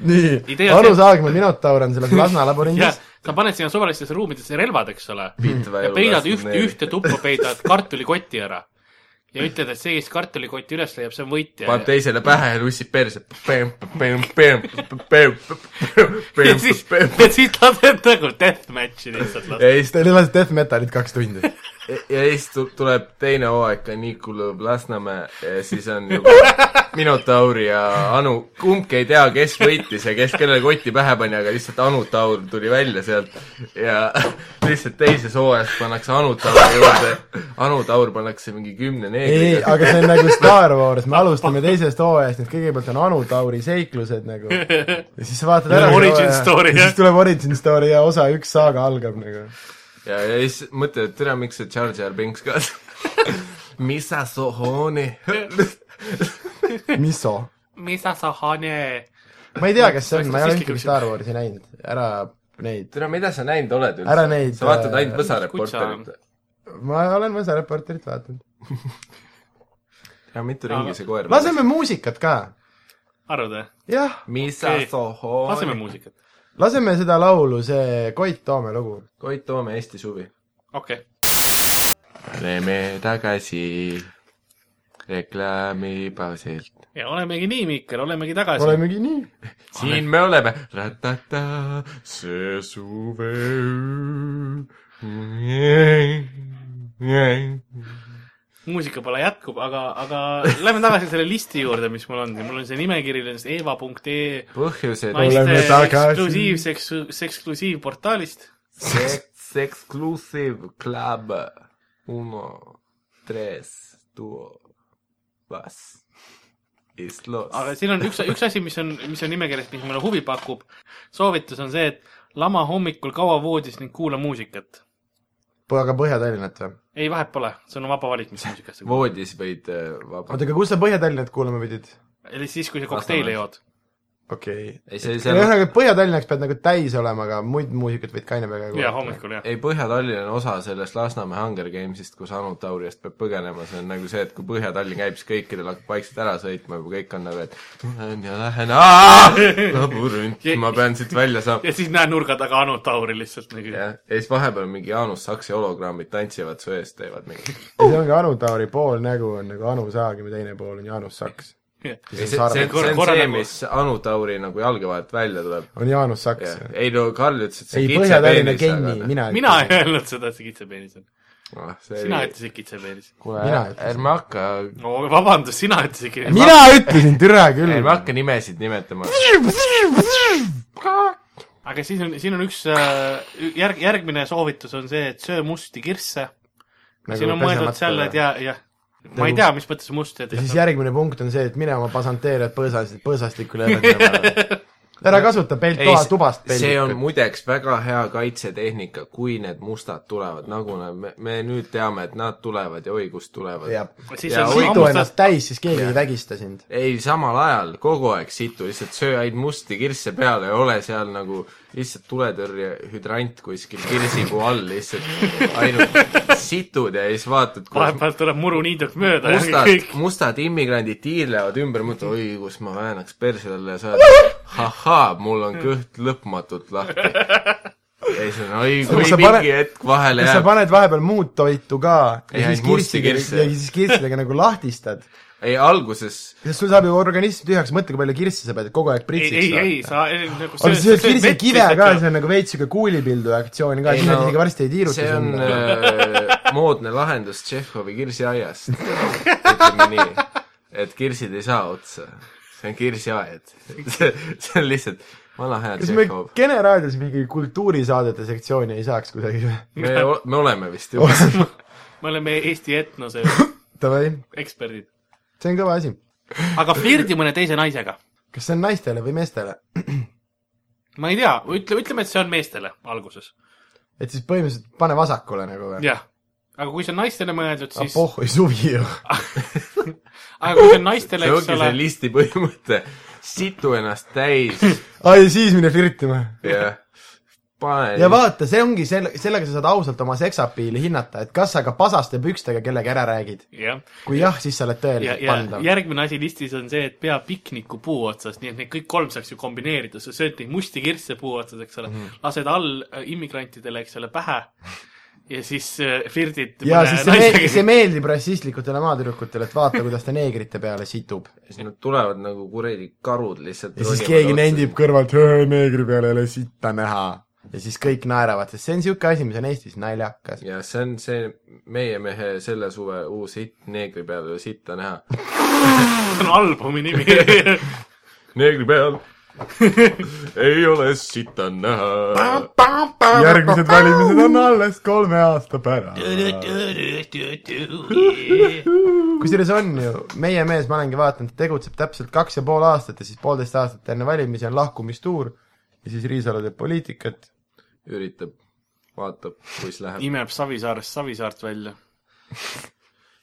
C: nii
B: Idee , on
C: Anu
B: see-
C: Saagma , Minotaur on selles
B: *laughs*
C: Lasna
B: ja
C: labürindis .
B: sa paned sinna suvalistesse ruumidesse relvad , eks ole ,
D: Pitva
B: ja
D: elu
B: peidad
D: lastud
B: üht ,
D: neile.
B: ühte tuppa peidad kartulikoti ära ja ütled , et see , kes kartulikoti üles leiab , see on võitja
D: paneb . teisele pähe ja tussib perse . ja
B: *laughs* ja siis , ja siis lased nagu deathmatch'i lihtsalt
D: *laughs*
B: lasta .
D: ja siis
C: Te lasite death metalit kaks tundi .
D: E, ja siis tu- tuleb teine hooaeg ka nii kulub Lasnamäe ja siis on juba Minotauri ja Anu , kumbki ei tea , kes võitis ja kes kellele kotti pähe pani , aga lihtsalt Anu Taur tuli välja sealt ja lihtsalt teises hooajas pannakse Anu Tauri juurde , Anu Taur pannakse mingi kümne
C: ei ,
D: neegriga .
C: aga
B: *laughs*
C: see on nagu Star Wars , me alustame teisest hooajast , nii et kõigepealt on Anu Tauri seiklused nagu . ja siis sa vaatad ära .
B: Origin story,
C: ja
B: jah.
C: siis tuleb Origin Story ja osa üks saaga algab nagu .
D: ja , ja siis mõtled , et tere , miks see Jar Jar Binks ka Misa sohone
C: miso .
B: mida sa , Hane ?
C: ma ei tea , kes see on , ma ei ole
B: Rassistlik
C: ühtegi
B: üks-
C: Star Warsi näinud , ära neid .
D: tere , mida sa näinud oled üldse ?
C: Ära neid,
D: sa vaatad
C: äh,
D: ainult Võsa
B: kutsa-
D: reporterit .
C: ma olen Võsa reporterit vaadanud .
D: ja mitu ringi see koer
C: laseme muusikat ka ,
B: arvad või ?
C: jah ,
D: Misa
B: Okei.
D: sohone
B: laseme muusikat .
C: laseme seda laulu , see Koit Toome lugu .
D: Koit Toome , Eesti suvi .
B: okei okay. .
D: oleme tagasi reklaamipausilt .
B: ja olemegi nii , Miikel , olemegi tagasi Oleme... .
C: olemegi nii .
D: siin me oleme . ratata , see suve .
B: muusika pole jätkub , aga , aga lähme tagasi selle listi juurde , mis mul on . mul on see nimekiri nendest E eva.ee
D: põhjused
C: Oleme
B: naiste
C: tagasi.
B: eksklusiivseks , eksklusiivportaalist .
D: Sex Exclusive Club Uno Tres Duo Vas Islos
B: aga siin on üks , üks asi , mis on , mis on nimekirjas , mis mulle huvi pakub . soovitus on see , et lama hommikul kaua voodis ning kuula muusikat .
C: aga Põhja-Tallinnat või ?
B: ei , vahet pole , see on vaba valik , mis muusikat
D: *laughs*
B: sa kuulad .
D: voodis võid äh, vaba
C: oota , aga kus sa Põhja-Tallinnat kuulama pidid ?
B: ehk siis , kui sa kokteile jood .
C: okei
D: ei see
C: okay. .
D: seal
C: ühesõnaga , Põhja-Tallinnaks pead nagu täis olema , aga muid muusikat võid kaine peaga
B: ja . hommikul , jah .
D: ei , Põhja-Tallinn on osa sellest Lasnamäe Hunger Gamesist , kus Anu Tauriast peab põgenema , see on nagu see , et kui Põhja-Tallinn käib , siis kõikidel hakkab vaikselt ära sõitma juba , kõik on nagu , et lähen ja lähen , laburünt , ma pean siit välja saama .
B: ja siis näen nurga taga Anu Tauri lihtsalt nagu yeah. .
D: jah , ja siis vahepeal mingi Jaanus Saksi hologrammid tantsivad su ees , teevad mingi
C: ja see ongi Anu Tauri pool nägu on nagu Anu Saagim ja teine pool on Jaanus Saks .
D: ei ,
C: kes
D: see ,
C: on
D: see ,
C: Sarve ,
D: see on
B: Korra
D: see ,
B: nagu-
D: mis Anu Tauri nagu jalge vahelt välja tuleb .
C: on Jaanus Saks .
D: ei no Karl ütles , et see
C: ei ,
D: kitse
C: Põhja-Tallinna
D: peenis ,
C: geni ,
D: aga
C: mina .
B: mina ei öelnud seda , et see kitsepeenis on .
D: noh , see
B: sina
D: oli ,
B: ütlesid kitsepeenis .
D: kuule
C: mina ütlesin. ,
D: ärme hakka ,
B: no vabandust , sina ütlesid .
C: mina ütlesin , türa
D: ärme
C: küll .
D: hakka nimesid nimetama .
B: aga siis on , siin on üks äh, järg , järgmine soovitus on see , et söö musti kirsse .
C: Nagu
B: siin on mõeldud selle , et ja , jah . ma ei tea , mis mõttes must , et
C: ja siis järgmine punkt on see , et mine oma pasanteerijad põõsast , põõsastikule lõpetama . ära kasuta pelt
D: ei
C: toa , tubast ,
D: see on . muideks väga hea kaitsetehnika , kui need mustad tulevad , nagu nad- me , me nüüd teame , et nad tulevad ja oi , kust tulevad .
B: siis
D: Ja
B: on
D: hoidu
C: situ
B: hammustad
C: ennast , täis , siis keegi ei vägista sind .
D: ei , samal ajal kogu aeg situ , lihtsalt söö ainult musti kirsse peale ja ole seal nagu lihtsalt tuletõrje hüdrant kuskil kirsikuu all lihtsalt ainult situd ja siis vaatad , kuidas
B: vahepeal tuleb muruniiduk mööda ja
D: mustad
B: kõik ,.
D: mustad immigrandid tiirlevad ümber , mõtlevad , oi , kus ma väänaks perse talle ja saad , ahhaa , mul on kõht lõpmatult lahti . ja siis on , oi , kui
C: sa
D: mingi
C: pane-
D: hetk vahele
C: kas sa
D: jääb ,
C: paned vahepeal muud toitu ka
D: Ei,
C: ja siis
D: ainult musti
C: kirstidega , ja
D: kirsse.
C: siis kirstidega nagu lahtistad ?
D: ei alguses ,
C: sest sul saab ju organism tühjaks , mõtle , kui palju kirsse sa pead kogu aeg
B: ei ,
C: pritsiks
B: ei , ei , sa nagu
C: aga see kirsikive ka , see on nagu veits siuke kuulipildu aktsioon ka ,
D: Ei,
C: siis nad
D: no,
C: isegi varsti ei tiiruta
D: see on
C: sind .
D: äh, moodne lahendus Tšehhovi kirsiaiast , ütleme nii , et kirsid ei saa otsa , see on kirsiaed , *laughs* see on lihtsalt vana hea
C: kas me
D: Tšehhov .
C: Kene raadios mingi kultuurisaadete sektsiooni ei saaks kuidagi *laughs* või ?
D: me , me oleme
C: *laughs*
D: vist juba ,
B: me oleme Eesti etnose *laughs*
C: Davai ,
B: eksperdid .
C: see on kõva asi .
B: aga flirdi mõne teise naisega ,
C: kas see on naistele või meestele ?
B: ma ei tea , ütle , ütleme , et see on meestele alguses ,
C: et siis põhimõtteliselt pane vasakule nagu või ?
B: jah . aga kui see on naistele mõeldud , siis ,
C: pohhui suvi ju .
B: aga kui see on naistele ,
D: see
B: eks
D: ongi
B: ole
D: see , listi põhimõte , situ ennast
B: *laughs*
D: täis
C: aa ja siis mine flirtima .
D: ja pane
C: ja vaata , see ongi selle , sellega sa saad ausalt oma seksapiili hinnata , et kas sa ka pasaste pükstega kellegi ära räägid .
B: jah .
C: kui jah , siis sa oled
B: ja ,
C: tõeliselt
B: ja
C: pandav .
B: järgmine asi listis on see , et pea pikniku puu otsas , nii et neid kõik kolm saaks ju kombineerida , sa sööd neid musti kirsse puu otsas , eks ole mm ,
C: Mhm.
B: -hmm. lased all äh, immigrantidele , eks ole , pähe ja siis äh, flirdid
C: ja siis see, me see meeldib rassistlikutele maatüdrukutele , et vaata , kuidas ta neegrite peale situb .
D: siis nad tulevad nagu kuradi karud lihtsalt
C: ja siis keegi nendib kõrvalt , neegri peale ei ole sitta näha . ja siis kõik naeravad , sest see on niisugune asi , mis on Eestis naljakas .
D: ja see on see meie mehe selle suve uus hitt Neegri peal ei ole sitta näha .
B: on albumi
C: *laughs*
B: nimi .
D: Neegri
B: *laughs*
D: peal ei ole sitta näha .
C: järgmised valimised on alles kolme aasta pärast . kusjuures on ju , meie mees , ma olengi vaadanud , tegutseb täpselt kaks ja pool aastat ja siis poolteist aastat enne valimisi on lahkumistuur ja siis Riisalu teeb poliitikat .
D: üritab , vaatab , kuis läheb .
B: imeb Savisaarest Savisaart välja .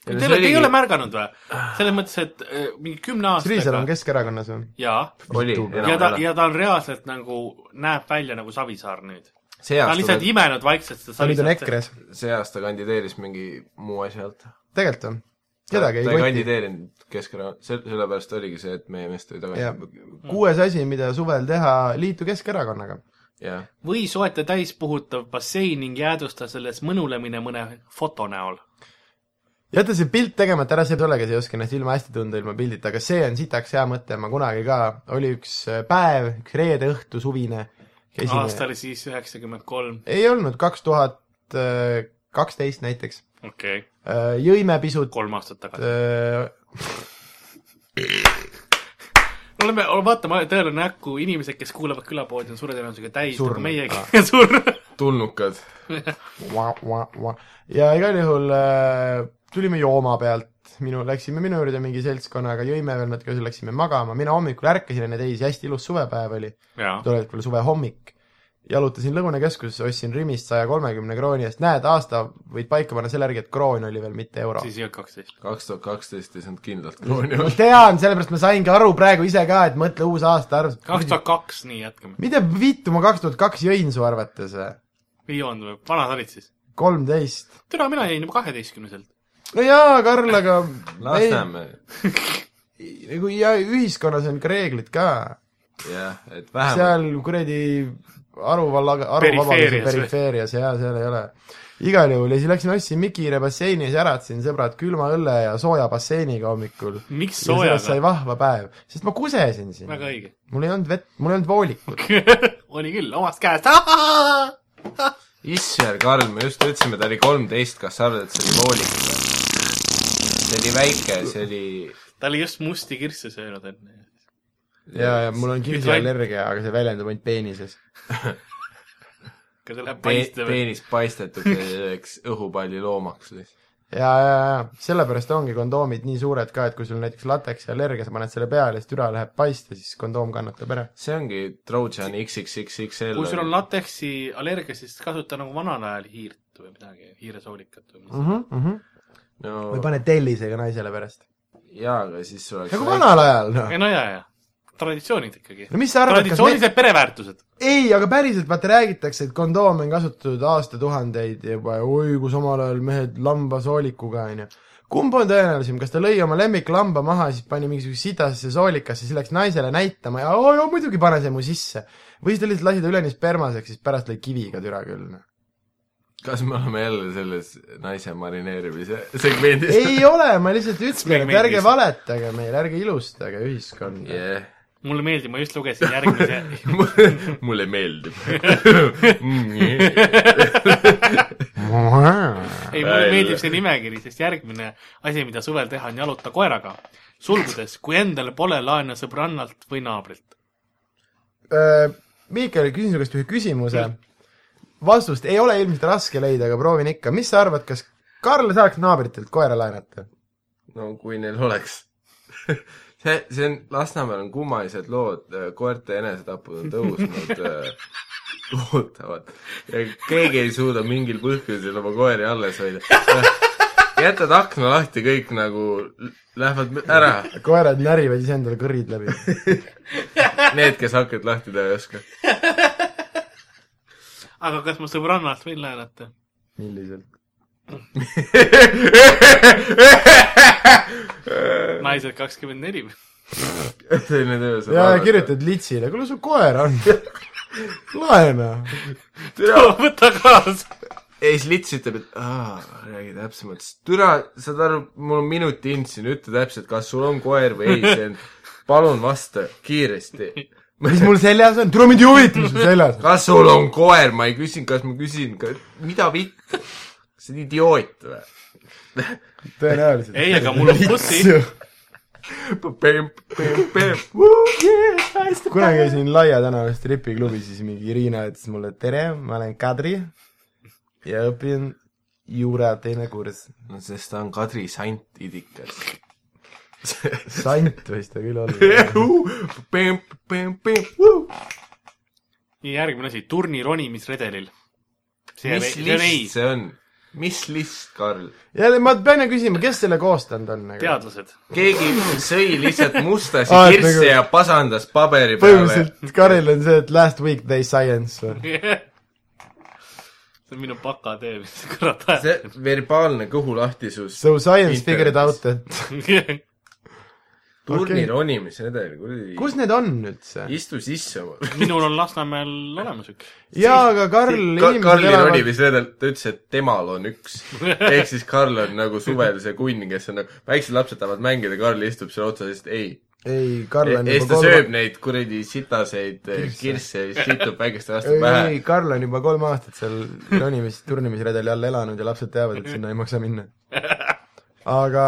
B: Te ei ole , te ei ole märganud või ? selles mõttes , et äh, mingi kümne
C: kas Riisalu
B: aastaga
C: Ah. on . Keskerakonnas või ?
B: jaa .
D: oli ,
B: ja ta ,
D: enam ei ole .
B: ja ta on reaalselt nagu , näeb välja nagu Savisaar nüüd .
D: see
B: ta on
D: aasta
B: lihtsalt , imenud vaikselt seda
C: ta nüüd on
B: Savisaart .
C: EKRE-s .
D: see aasta kandideeris mingi muu asja alt .
C: tegelikult on .
D: ta
C: kedagi
D: ei
C: ei koti .
D: kandideerinud Keskerakonna , selle , sellepärast oligi see , et meie mees tuli
C: ja
D: tagasi .
C: kuues asi , mida suvel teha , liitu Keskerakonnaga .
D: jah ,
B: või soeta täispuhutav bassein ning jäädvusta selles mõnulemine mõne foto näol .
C: jäta see pilt tegemata ära , see ei olegi , sa ei oska ennast ilma hästi tunda ilma pildita , aga see on sitaks hea mõte , ma kunagi ka , oli üks äh, päev , üks reede õhtu suvine ,
B: aasta
C: käisime ,
B: oli siis üheksakümmend kolm ,
C: ei olnud , kaks tuhat äh, kaksteist näiteks ,
B: okei okay. ,
C: Äh, jõime pisut , äh,
B: kolm aastat tagasi .
C: jaa ,
B: oleme , vaata , ma tõele näkku , inimesed , kes kuulavad külapoodi , on suure tõenäosusega täis
C: Surnud.
B: nagu meiegi , *laughs* surnud .
D: tulnukad .
C: ja igal juhul äh, tulime jooma pealt , minu , läksime minu juurde mingi seltskonnaga , jõime veel natuke , siis läksime magama , mina hommikul ärkasin enne teisi , hästi ilus suvepäev oli
B: jaa ,
C: tulevikule suvehommik , jalutasin Lõunakeskusesse , ostsin Rimist saja kolmekümne krooni eest , näed , aasta võid paika panna selle järgi , et kroon oli veel , mitte euro .
B: siis ei olnud kaksteist .
D: kaks tuhat kaksteist ei saanud kindlalt krooni
C: ma
D: olla .
C: tean , sellepärast ma saingi aru praegu ise ka , et mõtle uus aastaarv .
B: kaks tuhat kaks , nii jätkame .
C: mida vittu ma kaks tuhat kaks jõin su arvates või ?
B: ei joonud või , vana sa olid siis ?
C: kolmteist .
B: türa , mina jäin juba kaheteistkümneselt .
C: no jaa , Karl , aga
D: Lasnamäe ,
C: ei, nagu ja ühiskonnas on ka reeglid ka .
D: jah , et vähemalt
C: seal kuradi aruvalla , aruvabaduse
B: Perifeerias või?
C: perifeerias jaa , seal ei ole . igal juhul ja siis läksime ostsin Mikile basseini ja säratasin sõbrad külma õlle ja sooja basseiniga hommikul
B: miks
C: ja sellest
B: Hm,
C: sai
B: soojaga ?
C: vahva päev , sest ma kusesin siin .
B: väga õige .
C: mul ei olnud vett , mul ei olnud voolikut .
B: *laughs* oli küll , omast käest . *laughs*
D: issand , Karl , me just ütlesime , ta oli kolmteist , kas sa arvad , et see oli voolik või ? see oli väike , see oli
B: ta oli just musti kirsse söönud enne .
C: ja , ja mul on kirsiallergia , aga see väljendub ainult peenises .
B: kas see läheb
D: pe-
B: paiste või ?
D: peenis paistetud selleks õhupalli loomaks lihtsalt .
C: ja , ja , ja sellepärast ongi kondoomid nii suured ka , et kui sul näiteks lateksi allergia , sa paned selle peale , siis türa läheb paista , siis kondoom kannatab ära .
D: see ongi Trojan XXXXL .
B: kui sul on lateksi allergia , siis kasuta nagu vanal ajal hiirt või midagi , hiiresoolikat või mis .
D: no
C: või paned tellisega naisele pärast .
D: jaa , aga siis sul oleks
C: nagu vanal ajal , noh .
B: ei no jaa , jaa . traditsioonid ikkagi .
C: no mis sa arvad , kas me...
B: traditsioonilised me... pereväärtused .
C: ei , aga päriselt vaata räägitakse , et kondoome on kasutatud aastatuhandeid juba ja oi , kui samal ajal mehed lambasoolikuga onju . kumb on tõenäolisem , kas ta lõi oma lemmiklamba maha , siis pani mingisuguse sidasse soolikasse , siis läks naisele näitama ja oo joo , muidugi pane see mu sisse . või siis ta lihtsalt lasi ta üleni spermaseks , siis pärast lõi kiviga türa küll noh .
D: kas me oleme jälle selles naise marineerimise segmendis ?
C: ei ole , ma lihtsalt ütlen , et
B: Segmendis.
C: ärge valetage meile , ärge ilustage ühiskonda yeah. .
D: Yeah. *laughs*
B: mulle meeldib , ma just lugesin järgmise
C: *laughs*
D: mulle meeldib . *laughs*
C: *laughs*
B: ei , mulle
D: Välja.
B: meeldib see nimekiri , sest järgmine asi , mida suvel teha , on jaluta koeraga . sulgudes , kui endal pole , laena sõbrannalt või naabrilt .
C: Miikel , küsin su käest ühe Äh, küsimuse . vastust ei ole ilmselt raske leida , aga proovin ikka . mis sa arvad , kas Karl saaks naabritelt koera laenata ?
D: no kui neil oleks . see , see on , Lasnamäel on kummalised lood , koerte enesetapud on tõusnud äh, kohutavad . keegi ei suuda mingil põhjusel oma koeri alles hoida . jätad akna lahti , kõik nagu lähevad ära ,
C: koerad närivad iseendale kõrid läbi . *laughs*
D: need , kes akent lahti teha ei oska .
B: aga kas ma sõbrannalt võin laenata ?
D: *laughs*
C: milliselt ?
B: naised kakskümmend neli .
D: selline töö saab
C: ja kirjutad litsile , kuule sul koer *laughs* on . laena .
D: kirjuta .
B: *laughs* võta kaasa .
D: ja siis lits ütleb , et aa , räägi täpsemalt , siis türa , saad aru , mul on minuti int siin , ütle täpselt , kas sul on koer või ei , see on , palun vasta kiiresti .
C: mis mul seljas on ? tule mind ei huvita , mis sul seljas on .
D: kas sul on koer , ma ei küsinud , kas ma küsin , mida vitt , kas sa oled idioot või ?
C: tõenäoliselt .
B: ei , aga mul on
C: *laughs*
B: bussi .
C: kunagi käisin Laia tänaval stripiklubis , siis mingi Irina ütles mulle tere , ma olen Kadri ja õpin juura teine kurss .
D: no sest ta on Kadri sant idikas .
C: sant võis ta küll olla .
B: ja järgmine asi , turni ronimisredelil . see
D: mis
B: on ei
D: list , see on ? mis list , Karl ?
C: jälle , ma pean ju küsima , kes selle koostanud on nagu ?
B: teadlased .
D: keegi sõi lihtsalt mustasi
C: Aa, et
D: kirsse
C: nagu-
D: ja pasandas paberi peale .
C: põhimõtteliselt Karil on see , et last week they science või ?
B: see *laughs* on minu bakatöö , mis sa kurat ajad .
D: see verbaalne kõhulahtisus
C: So science
D: Internetis.
C: figured out that .
B: *laughs*
D: turni
C: okei.
D: ronimisredel , kuradi ,
C: kus need on üldse ?
D: istu sisse oma .
B: minul on Lasnamäel olemas üks .
C: jaa , aga Karl , inimesed
D: Karli
C: elavad ,
D: ronimisredel , ta ütles , et temal on üks . ehk siis Karl on nagu suvel see kunn , kes on nagu , väiksed lapsed tahavad mängida , Karl istub seal otsas , et ei .
C: ei , Karl
D: ja
C: on
D: siis
C: juba
D: ta
C: kolm
D: E- sööb , neid kuradi sitaseid eh, kirsse ja siis situb väikeste laste pähe
C: ei ,. Karl on juba kolm aastat seal ronimis , turnimisredeli all elanud ja lapsed teavad ,
B: *laughs*
C: et sinna ei maksa minna . aga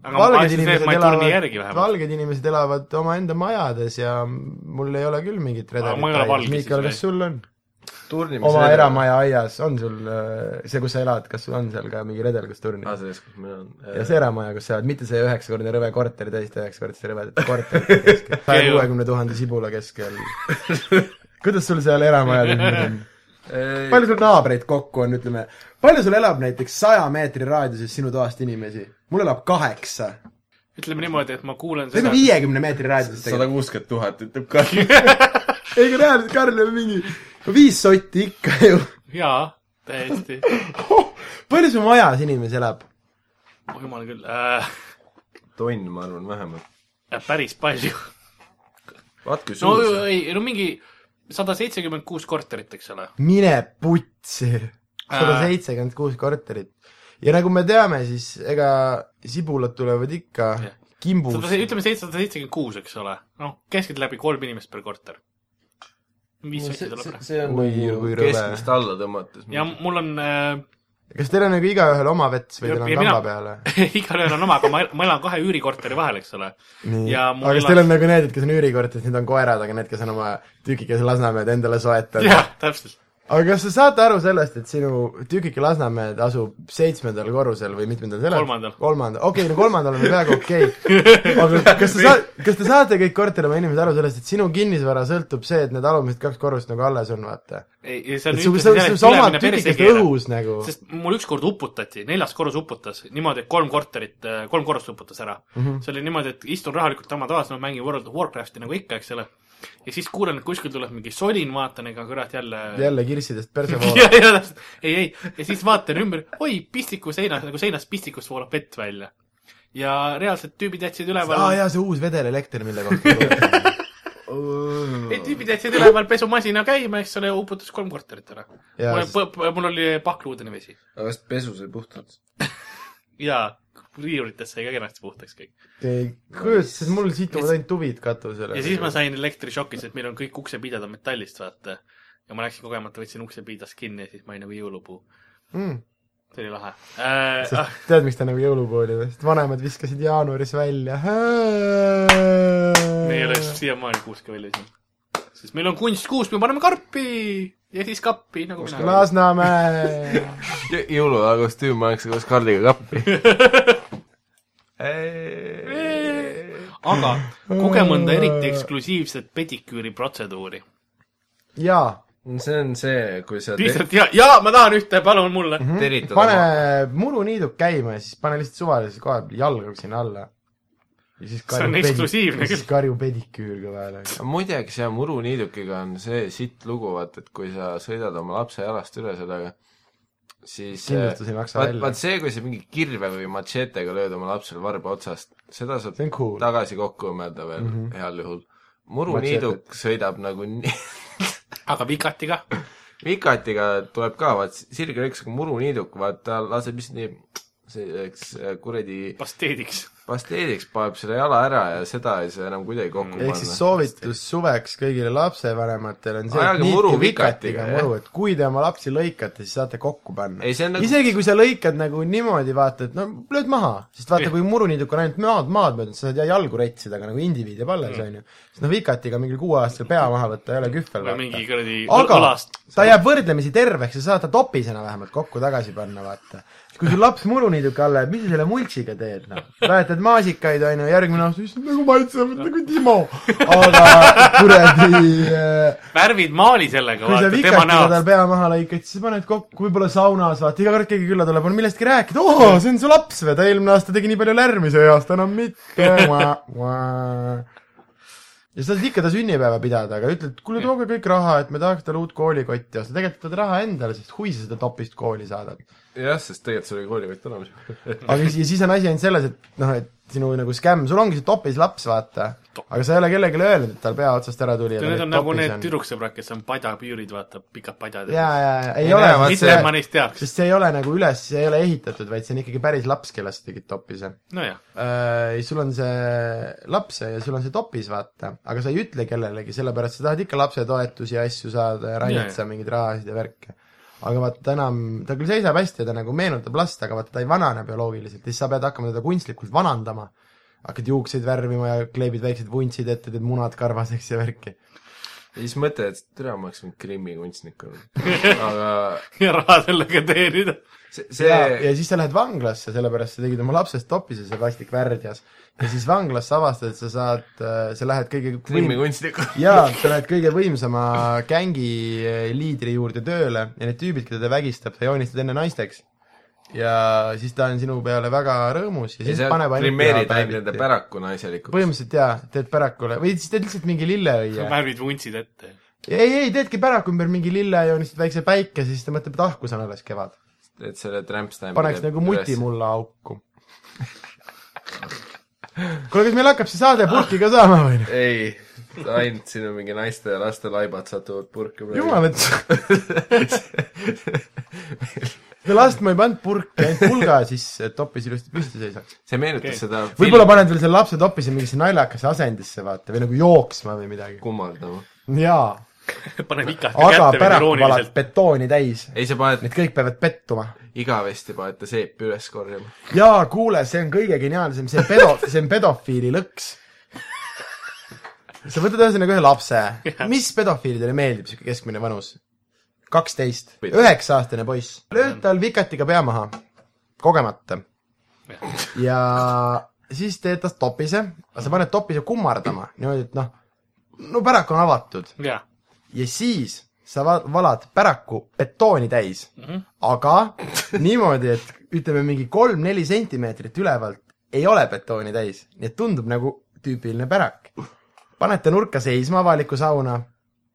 B: Aga ma
C: valged
B: vaatasin see, et
C: inimesed
B: ma ei turni järgi
C: elavad ,
B: vähemalt.
C: valged inimesed elavad omaenda majades ja mul ei ole küll mingit redelit
B: ma ei ole valge siis
C: Miikal , kas
B: või?
C: sul on ? oma
D: turnimisredel .
C: eramaja aias on sul äh, see , kus sa elad , kas sul on seal ka mingi redel , kus turnida
D: aa ,? selles , kus mina olen
C: ja see eramaja , kus sa elad , mitte see üheksakordne rõve korter , täiesti üheksakordse rõvedate korteri
B: *laughs*
C: keskel , saja kuuekümne tuhande sibula keskel . kuidas sul seal eramajad ümber on ?
D: Eh,
C: palju sul naabreid kokku on , ütleme , palju sul elab näiteks saja meetri raadiuses sinu toast inimesi ? mul elab kaheksa ,
B: ütleme niimoodi , et ma kuulen
C: või
B: seda
C: no . viiekümne meetri raadiuses
D: sada
C: tegelikult .
D: kuuskümmend tuhat ütleb Karl .
C: ei , aga reaalselt Karl on mingi no viis sotti ikka ju .
B: *laughs*
C: *laughs*
B: jaa , täiesti .
C: palju su majas inimesi elab ?
B: oh jumal küll äh, ,
D: tonn , ma arvan , vähemalt .
B: päris palju .
D: vaat kui
B: no
D: suur see on .
B: ei , no mingi sada seitsekümmend kuus korterit , eks ole .
C: mine putsi , sada
B: Äh.
C: seitsekümmend kuus korterit . ja nagu me teame , siis ega sibulad tulevad ikka
B: Jah.
C: kimbust
B: sada , ütleme seitsesada seitsekümmend kuus , eks ole . noh , keskeltläbi kolm inimest per korter . viis sotti tuleb ära .
D: see on
C: Oi, kui
D: nagu
C: rõve.
D: keskmist alla tõmmates .
B: ja mul on äh, , *laughs*
C: kas teil on nagu igaühel oma vets või
B: Ja-
C: teil on
B: ja
C: kamba
B: mina-
C: peale ?
B: igalühel on oma , aga ma , ma elan kahe üürikorteri vahel , eks ole .
C: nii ,
B: Ja mul
C: aga kas
B: elas-
C: teil on nagu need , et kes on üürikorteris , need on koerad , aga need , kes on oma tükikese Lasnamäed endale soetanud ?
B: jah , täpselt .
C: aga kas sa saad aru sellest , et sinu tükike Lasnamäed asub seitsmendal korrusel või mitmendal selle
B: Kolmandal.
C: kolmandal , okei okay, , no kolmandal on peaaegu okei
B: *laughs*
C: okay. . aga kas te saad , kas te saate kõik korterima inimesed aru sellest , et sinu kinnisvara sõltub see , et need alumised kaks korrust nagu alles on , vaata .
B: ei , ei see on
C: et sul , sul , sul sa omad
B: perse
C: tükikest
B: keerab.
C: õhus nagu .
B: sest mul ükskord uputati , neljas korrus uputas niimoodi , et kolm korterit , kolm korrust uputas ära mm .
C: Mhm.
B: -hmm. see oli niimoodi , et istun rahulikult oma toas , no mängin World of Warcrafti nagu ikka , eks ole . ja siis kuulen , et kuskil tuleb mingi solin , vaatan , ega kurat jälle .
C: jälle kirssidest perse
B: *laughs* ja ,
C: voolab .
B: ja täpselt , ei , ei , ja siis vaatan ümber , oi , pistiku seinas , nagu seinast pistikust voolab vett välja . ja reaalselt tüübid jätsid üleval *laughs*
C: aa jaa , see uus vedelelekter , mille kohta .
B: Need tüübid jätsid üleval pesumasina käima , eks ole , uputas kolm korterit ära .
C: Jaa,
B: mul oli pakluudeni vesi
D: aga kas pesu sai puhtalt ?
B: ja riiulitest sai ka kenasti puhtaks kõik .
C: kuidas , sest mul situvad ainult tuvid katusele .
B: ja siis ma sain elektrišokis , et meil on kõik uksepiidad on metallist , vaata . ja ma läksin kogemata , võtsin uksepiidast kinni ja siis ma olin nagu jõulupuu .
C: mm. .
B: see oli lahe äh, .
C: sest tead , miks ta nagu jõulupuu oli või ? sest vanemad viskasid jaanuaris välja .
B: me ei ole siiamaani kuuske välja siin . sest meil on kunstkuusk , me paneme karpi ja siis kappi , nagu mina .
C: Lasnamäe .
D: jõuluvana kostüüm pannakse koos Karliga kappi .
B: aga koge mõnda eriti eksklusiivset pediküüri protseduuri .
C: jaa ,
D: see on see , kui sa te-
B: lihtsalt ja , ja ma tahan ühte , palun mulle
D: Mhm.
B: mm . -hmm.
D: teritad
C: pane
D: oma ,
C: muruniiduk käima ja siis pane lihtsalt suvalise koha peal jalga sinna alla . ja siis
B: See on
C: karju
B: eksklusiivne
C: ja siis
B: küll.
C: karju pediküür ka vahele .
D: muideks ja muruniidukiga on see sitt lugu , vaata , et kui sa sõidad oma lapse jalast üle sellega , siis
C: Kindlustus ei maksa
D: vaat,
C: välja.
D: vaat see , kui sa mingi kirve või matšetega lööd oma lapsele varba otsast , seda saab
C: See on cool. Mhm.
D: tagasi kokku õmmelda veel mm -hmm. heal juhul . muruniiduk sõidab nagu nii *laughs*
B: aga vikati kah .
D: vikatiga tuleb ka , vaat sirge üks muruniiduk , vaat ta laseb lihtsalt nii selleks äh, kuradi
B: pasteediks .
D: pasteediks , paneb selle jala ära ja seda ei saa enam kuidagi kokku
C: ehk siis
D: panna .
C: soovitus suveks kõigile lapsevanematele on see , et
D: Ajage
C: niitke
D: muru
C: vikatiga
D: vikatiga,
C: muru , et kui te oma lapsi lõikate , siis saate kokku panna .
D: Ei, see on nagu-
C: isegi kui sa lõikad nagu niimoodi , vaata , et no lööd maha , sest vaata , kui muruniiduk on ainult maad , maad mööda , sa saad ja jalgu rettida , aga nagu indiviid jääb
D: Mm.
C: alles , onju . siis noh , vikatiga mingil kuueaastasel pea maha võtta ei ole kühvel ,
B: või mingi
C: vaata .
B: kuradi
C: aga
B: õlast
C: ta jääb võrdlemisi terveks ja saad ta topisena vähemalt kokku tagasi panna , vaata . kui sul laps muruniiduka alla jääb , mis sa selle multsiga teed , noh ? väetad maasikaid , onju , järgmine aasta , issand , nagu maitsevad nagu Timo . aga kuradi , äh,
B: värvid maali sellega ,
C: kui sa
B: vaata tema
C: vikatiga tal
B: näost .
C: pea maha lõikad , siis paned kokku , võib-olla saunas , vaata , iga kord keegi külla tuleb , on millestki rääkida , oo , see on su laps või , ta eelmine aasta tegi nii palju lärmi , see aasta enam
B: *laughs*
C: mitte . ja sa saad ikka ta sünnipäeva pidada , aga ütled , kuule tooge kõik raha , et me tahaks talle uut koolikotti osta , tegelikult tahad raha endale , sest hui sa seda topist kooli saadad .
D: jah , sest tegelikult sul oli koolikott olemas . *laughs*
C: aga siis , siis on asi ainult selles , et noh , et sinu nagu skämm , sul ongi see topis laps , vaata . aga sa ei ole kellelegi öelnud , et tal pea otsast ära tuli .
B: Need on nagu need . tüdruksõbrad , kes on padjapüürid , vaata , pikad padjad .
C: jaa , jaa , ei
D: Ei
C: ole nagu
D: näe, . vaat
B: mitte , et ma neist teaks .
C: sest see ei ole nagu üles , see ei ole ehitatud , vaid see on ikkagi päris laps , kellest tegid topise .
B: nojah ,
C: sul on see laps ja sul on see topis , vaata , aga sa ei ütle kellelegi , sellepärast sa tahad ikka lapsetoetusi ja asju saada ja
B: Jaa,
C: rannid
B: jaa.
C: sa mingeid rahasid ja värke . aga vaata ta enam , ta küll seisab hästi ja ta nagu meenutab last , aga vaata ta ei vanane bioloogiliselt , siis sa pead hakkama teda kunstlikult vanandama . hakkad juukseid värvima ja kleebid väiksed vuntsid ette , teed munad karvaseks ja värki .
D: ja siis mõtled , et türa , ma oleks võinud Krimmi kunstnik olla . aga
B: *laughs* ja raha sellega teenida .
D: see ,
C: ja , ja
D: see ,
C: siis sa lähed vanglasse , sellepärast sa tegid oma lapsest topise , see vastik värdjas . ja siis vanglas sa avastad , et sa saad , sa lähed kõige
D: Krimmi
C: võim-
D: kunstnik .
C: jaa , sa lähed kõige võimsama gängi äh, liidri juurde tööle ja need tüübid , keda ta vägistab , sa joonistad enne naisteks . ja siis ta on sinu peale väga rõõmus ja
D: ja
C: siis
D: sa
C: paneb
D: grimeerid ainult nende päraku naiselikuks .
C: põhimõtteliselt jaa , teed pärakule või siis teed lihtsalt mingi lilleõie .
B: värvid vuntsid ette . *laughs*
C: ei , ei teedki päraku ümber mingi lille , joonistad väikse päikese , siis ta mõtleb , et ah , kus on alles kevad .
D: et selle trämpstamine
C: paneks nagu mutimulla auku . kuule , kas meil hakkab see saade purki ka saama või ?
D: ei , ainult sinu mingi naiste ja laste laibad satuvad purki .
C: jumal ,. et
B: *laughs*
C: seda last ma ei pannud purki , ainult pulga sisse , et topis ilusti püsti seisaks .
D: *laughs* see meenutas okay. seda
C: võib-olla paned veel selle lapse topise mingisse naljakasse asendisse , vaata , või nagu jooksma või midagi .
D: kummardama .
C: jaa ,
B: pane vikati
C: aga
B: kätte veel
C: päraku palad
B: irooniliselt .
C: betooni täis .
D: ei , sa paned
C: Need , kõik peavad pettuma .
D: igavesti paned ta seepi üles korjama .
C: jaa , kuule , see on kõige geniaalsem , see on pedo- , see on pedofiili lõks . sa võtad ühesõnaga ühe lapse , mis pedofiilidele meeldib siuke keskmine vanus ? kaksteist , üheksa-aastane poiss , lööd tal vikatiga pea maha , kogemata . ja siis teed tast topise , aga sa paned topise kummardama niimoodi , et noh , no pärak on avatud
B: jah ,
C: ja siis sa va- valad päraku betooni täis mm ,
B: Mhm.
C: -hmm. aga niimoodi , et ütleme mingi kolm-neli sentimeetrit ülevalt ei ole betooni täis , nii et tundub nagu tüüpiline pärak . paned ta nurka seisma avalikku sauna ,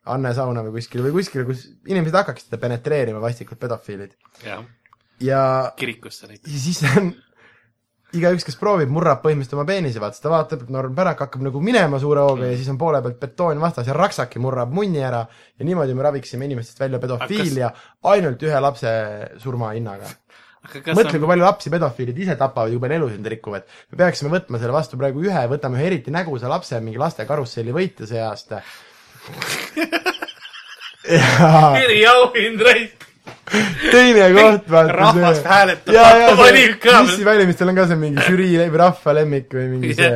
C: Anne sauna või kuskile või kuskile , kus inimesed hakkaksid seda penetreerima , vastikud pedofiilid .
B: jah ,
C: ja
B: kirikusse näiteks .
C: ja siis on igaüks , kes proovib , murrab põhimõtteliselt oma peenise , vaata , ta vaatab , et norm pärak hakkab nagu minema suure hooga ja siis on poole pealt betoon vastas ja raksaki murrab munni ära ja niimoodi me raviksime inimestest välja pedofiilia ainult ühe lapse surma hinnaga .
B: aga
C: mõtle , kui palju lapsi pedofiilid ise tapavad ja kui palju elusid nad rikuvad . me peaksime võtma selle vastu praegu ühe , võtame ühe eriti nägusa lapse , mingi laste karusselli võitja see aasta ja
B: eriauhind raisk . *laughs*
C: teine koht , vaata .
B: Rahvast hääletab, valib ka.
C: missi valimistel on ka see mingi
B: *laughs*
C: žürii le- või rahva lemmik või mingi see ,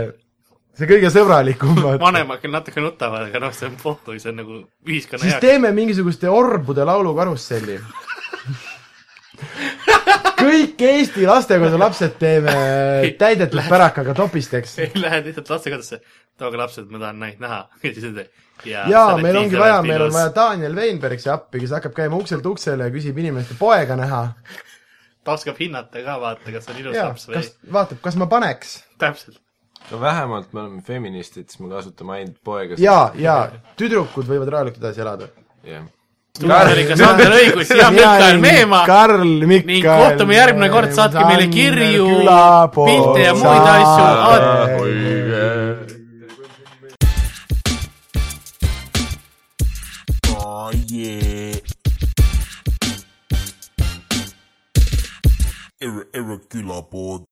C: see kõige sõbralikum .
B: vanemad küll natuke nutavad , aga noh , see on pohhu , see on nagu ühiskonna *laughs*
C: siis
B: heaks .
C: teeme mingisuguste orbude
B: *laughs*
C: laulukarusselli . kõik Eesti lastekodulapsed teeme täidetud pärakaga topisteks .
B: Lähed lihtsalt lastekodusse , tooge lapsed , ma tahan neid näha . *laughs* ja siis on see .
C: jaa , meil ongi vaja , meil on vaja . Daniel Veinberg siia appi , kes hakkab käima ukselt uksele ja küsib inimeste poega näha .
B: ta oskab hinnata ka , vaata , kas on ilus
C: jaa ,
B: laps või
C: kas , vaatab , kas ma paneks
B: täpselt .
D: no vähemalt me oleme feministid , siis me kasutame ainult poega .
C: ja , ja tüdrukud võivad rahulikult edasi elada
D: jah .
B: stuudios oli ka Sander Õigus ja Mikael Meemaa .
C: Karl Mikael .
B: ning kohtume järgmine kord, saatke meile kirju, pilte ja muid asju. Saade.
A: Oh yeah. Ir- irregular board.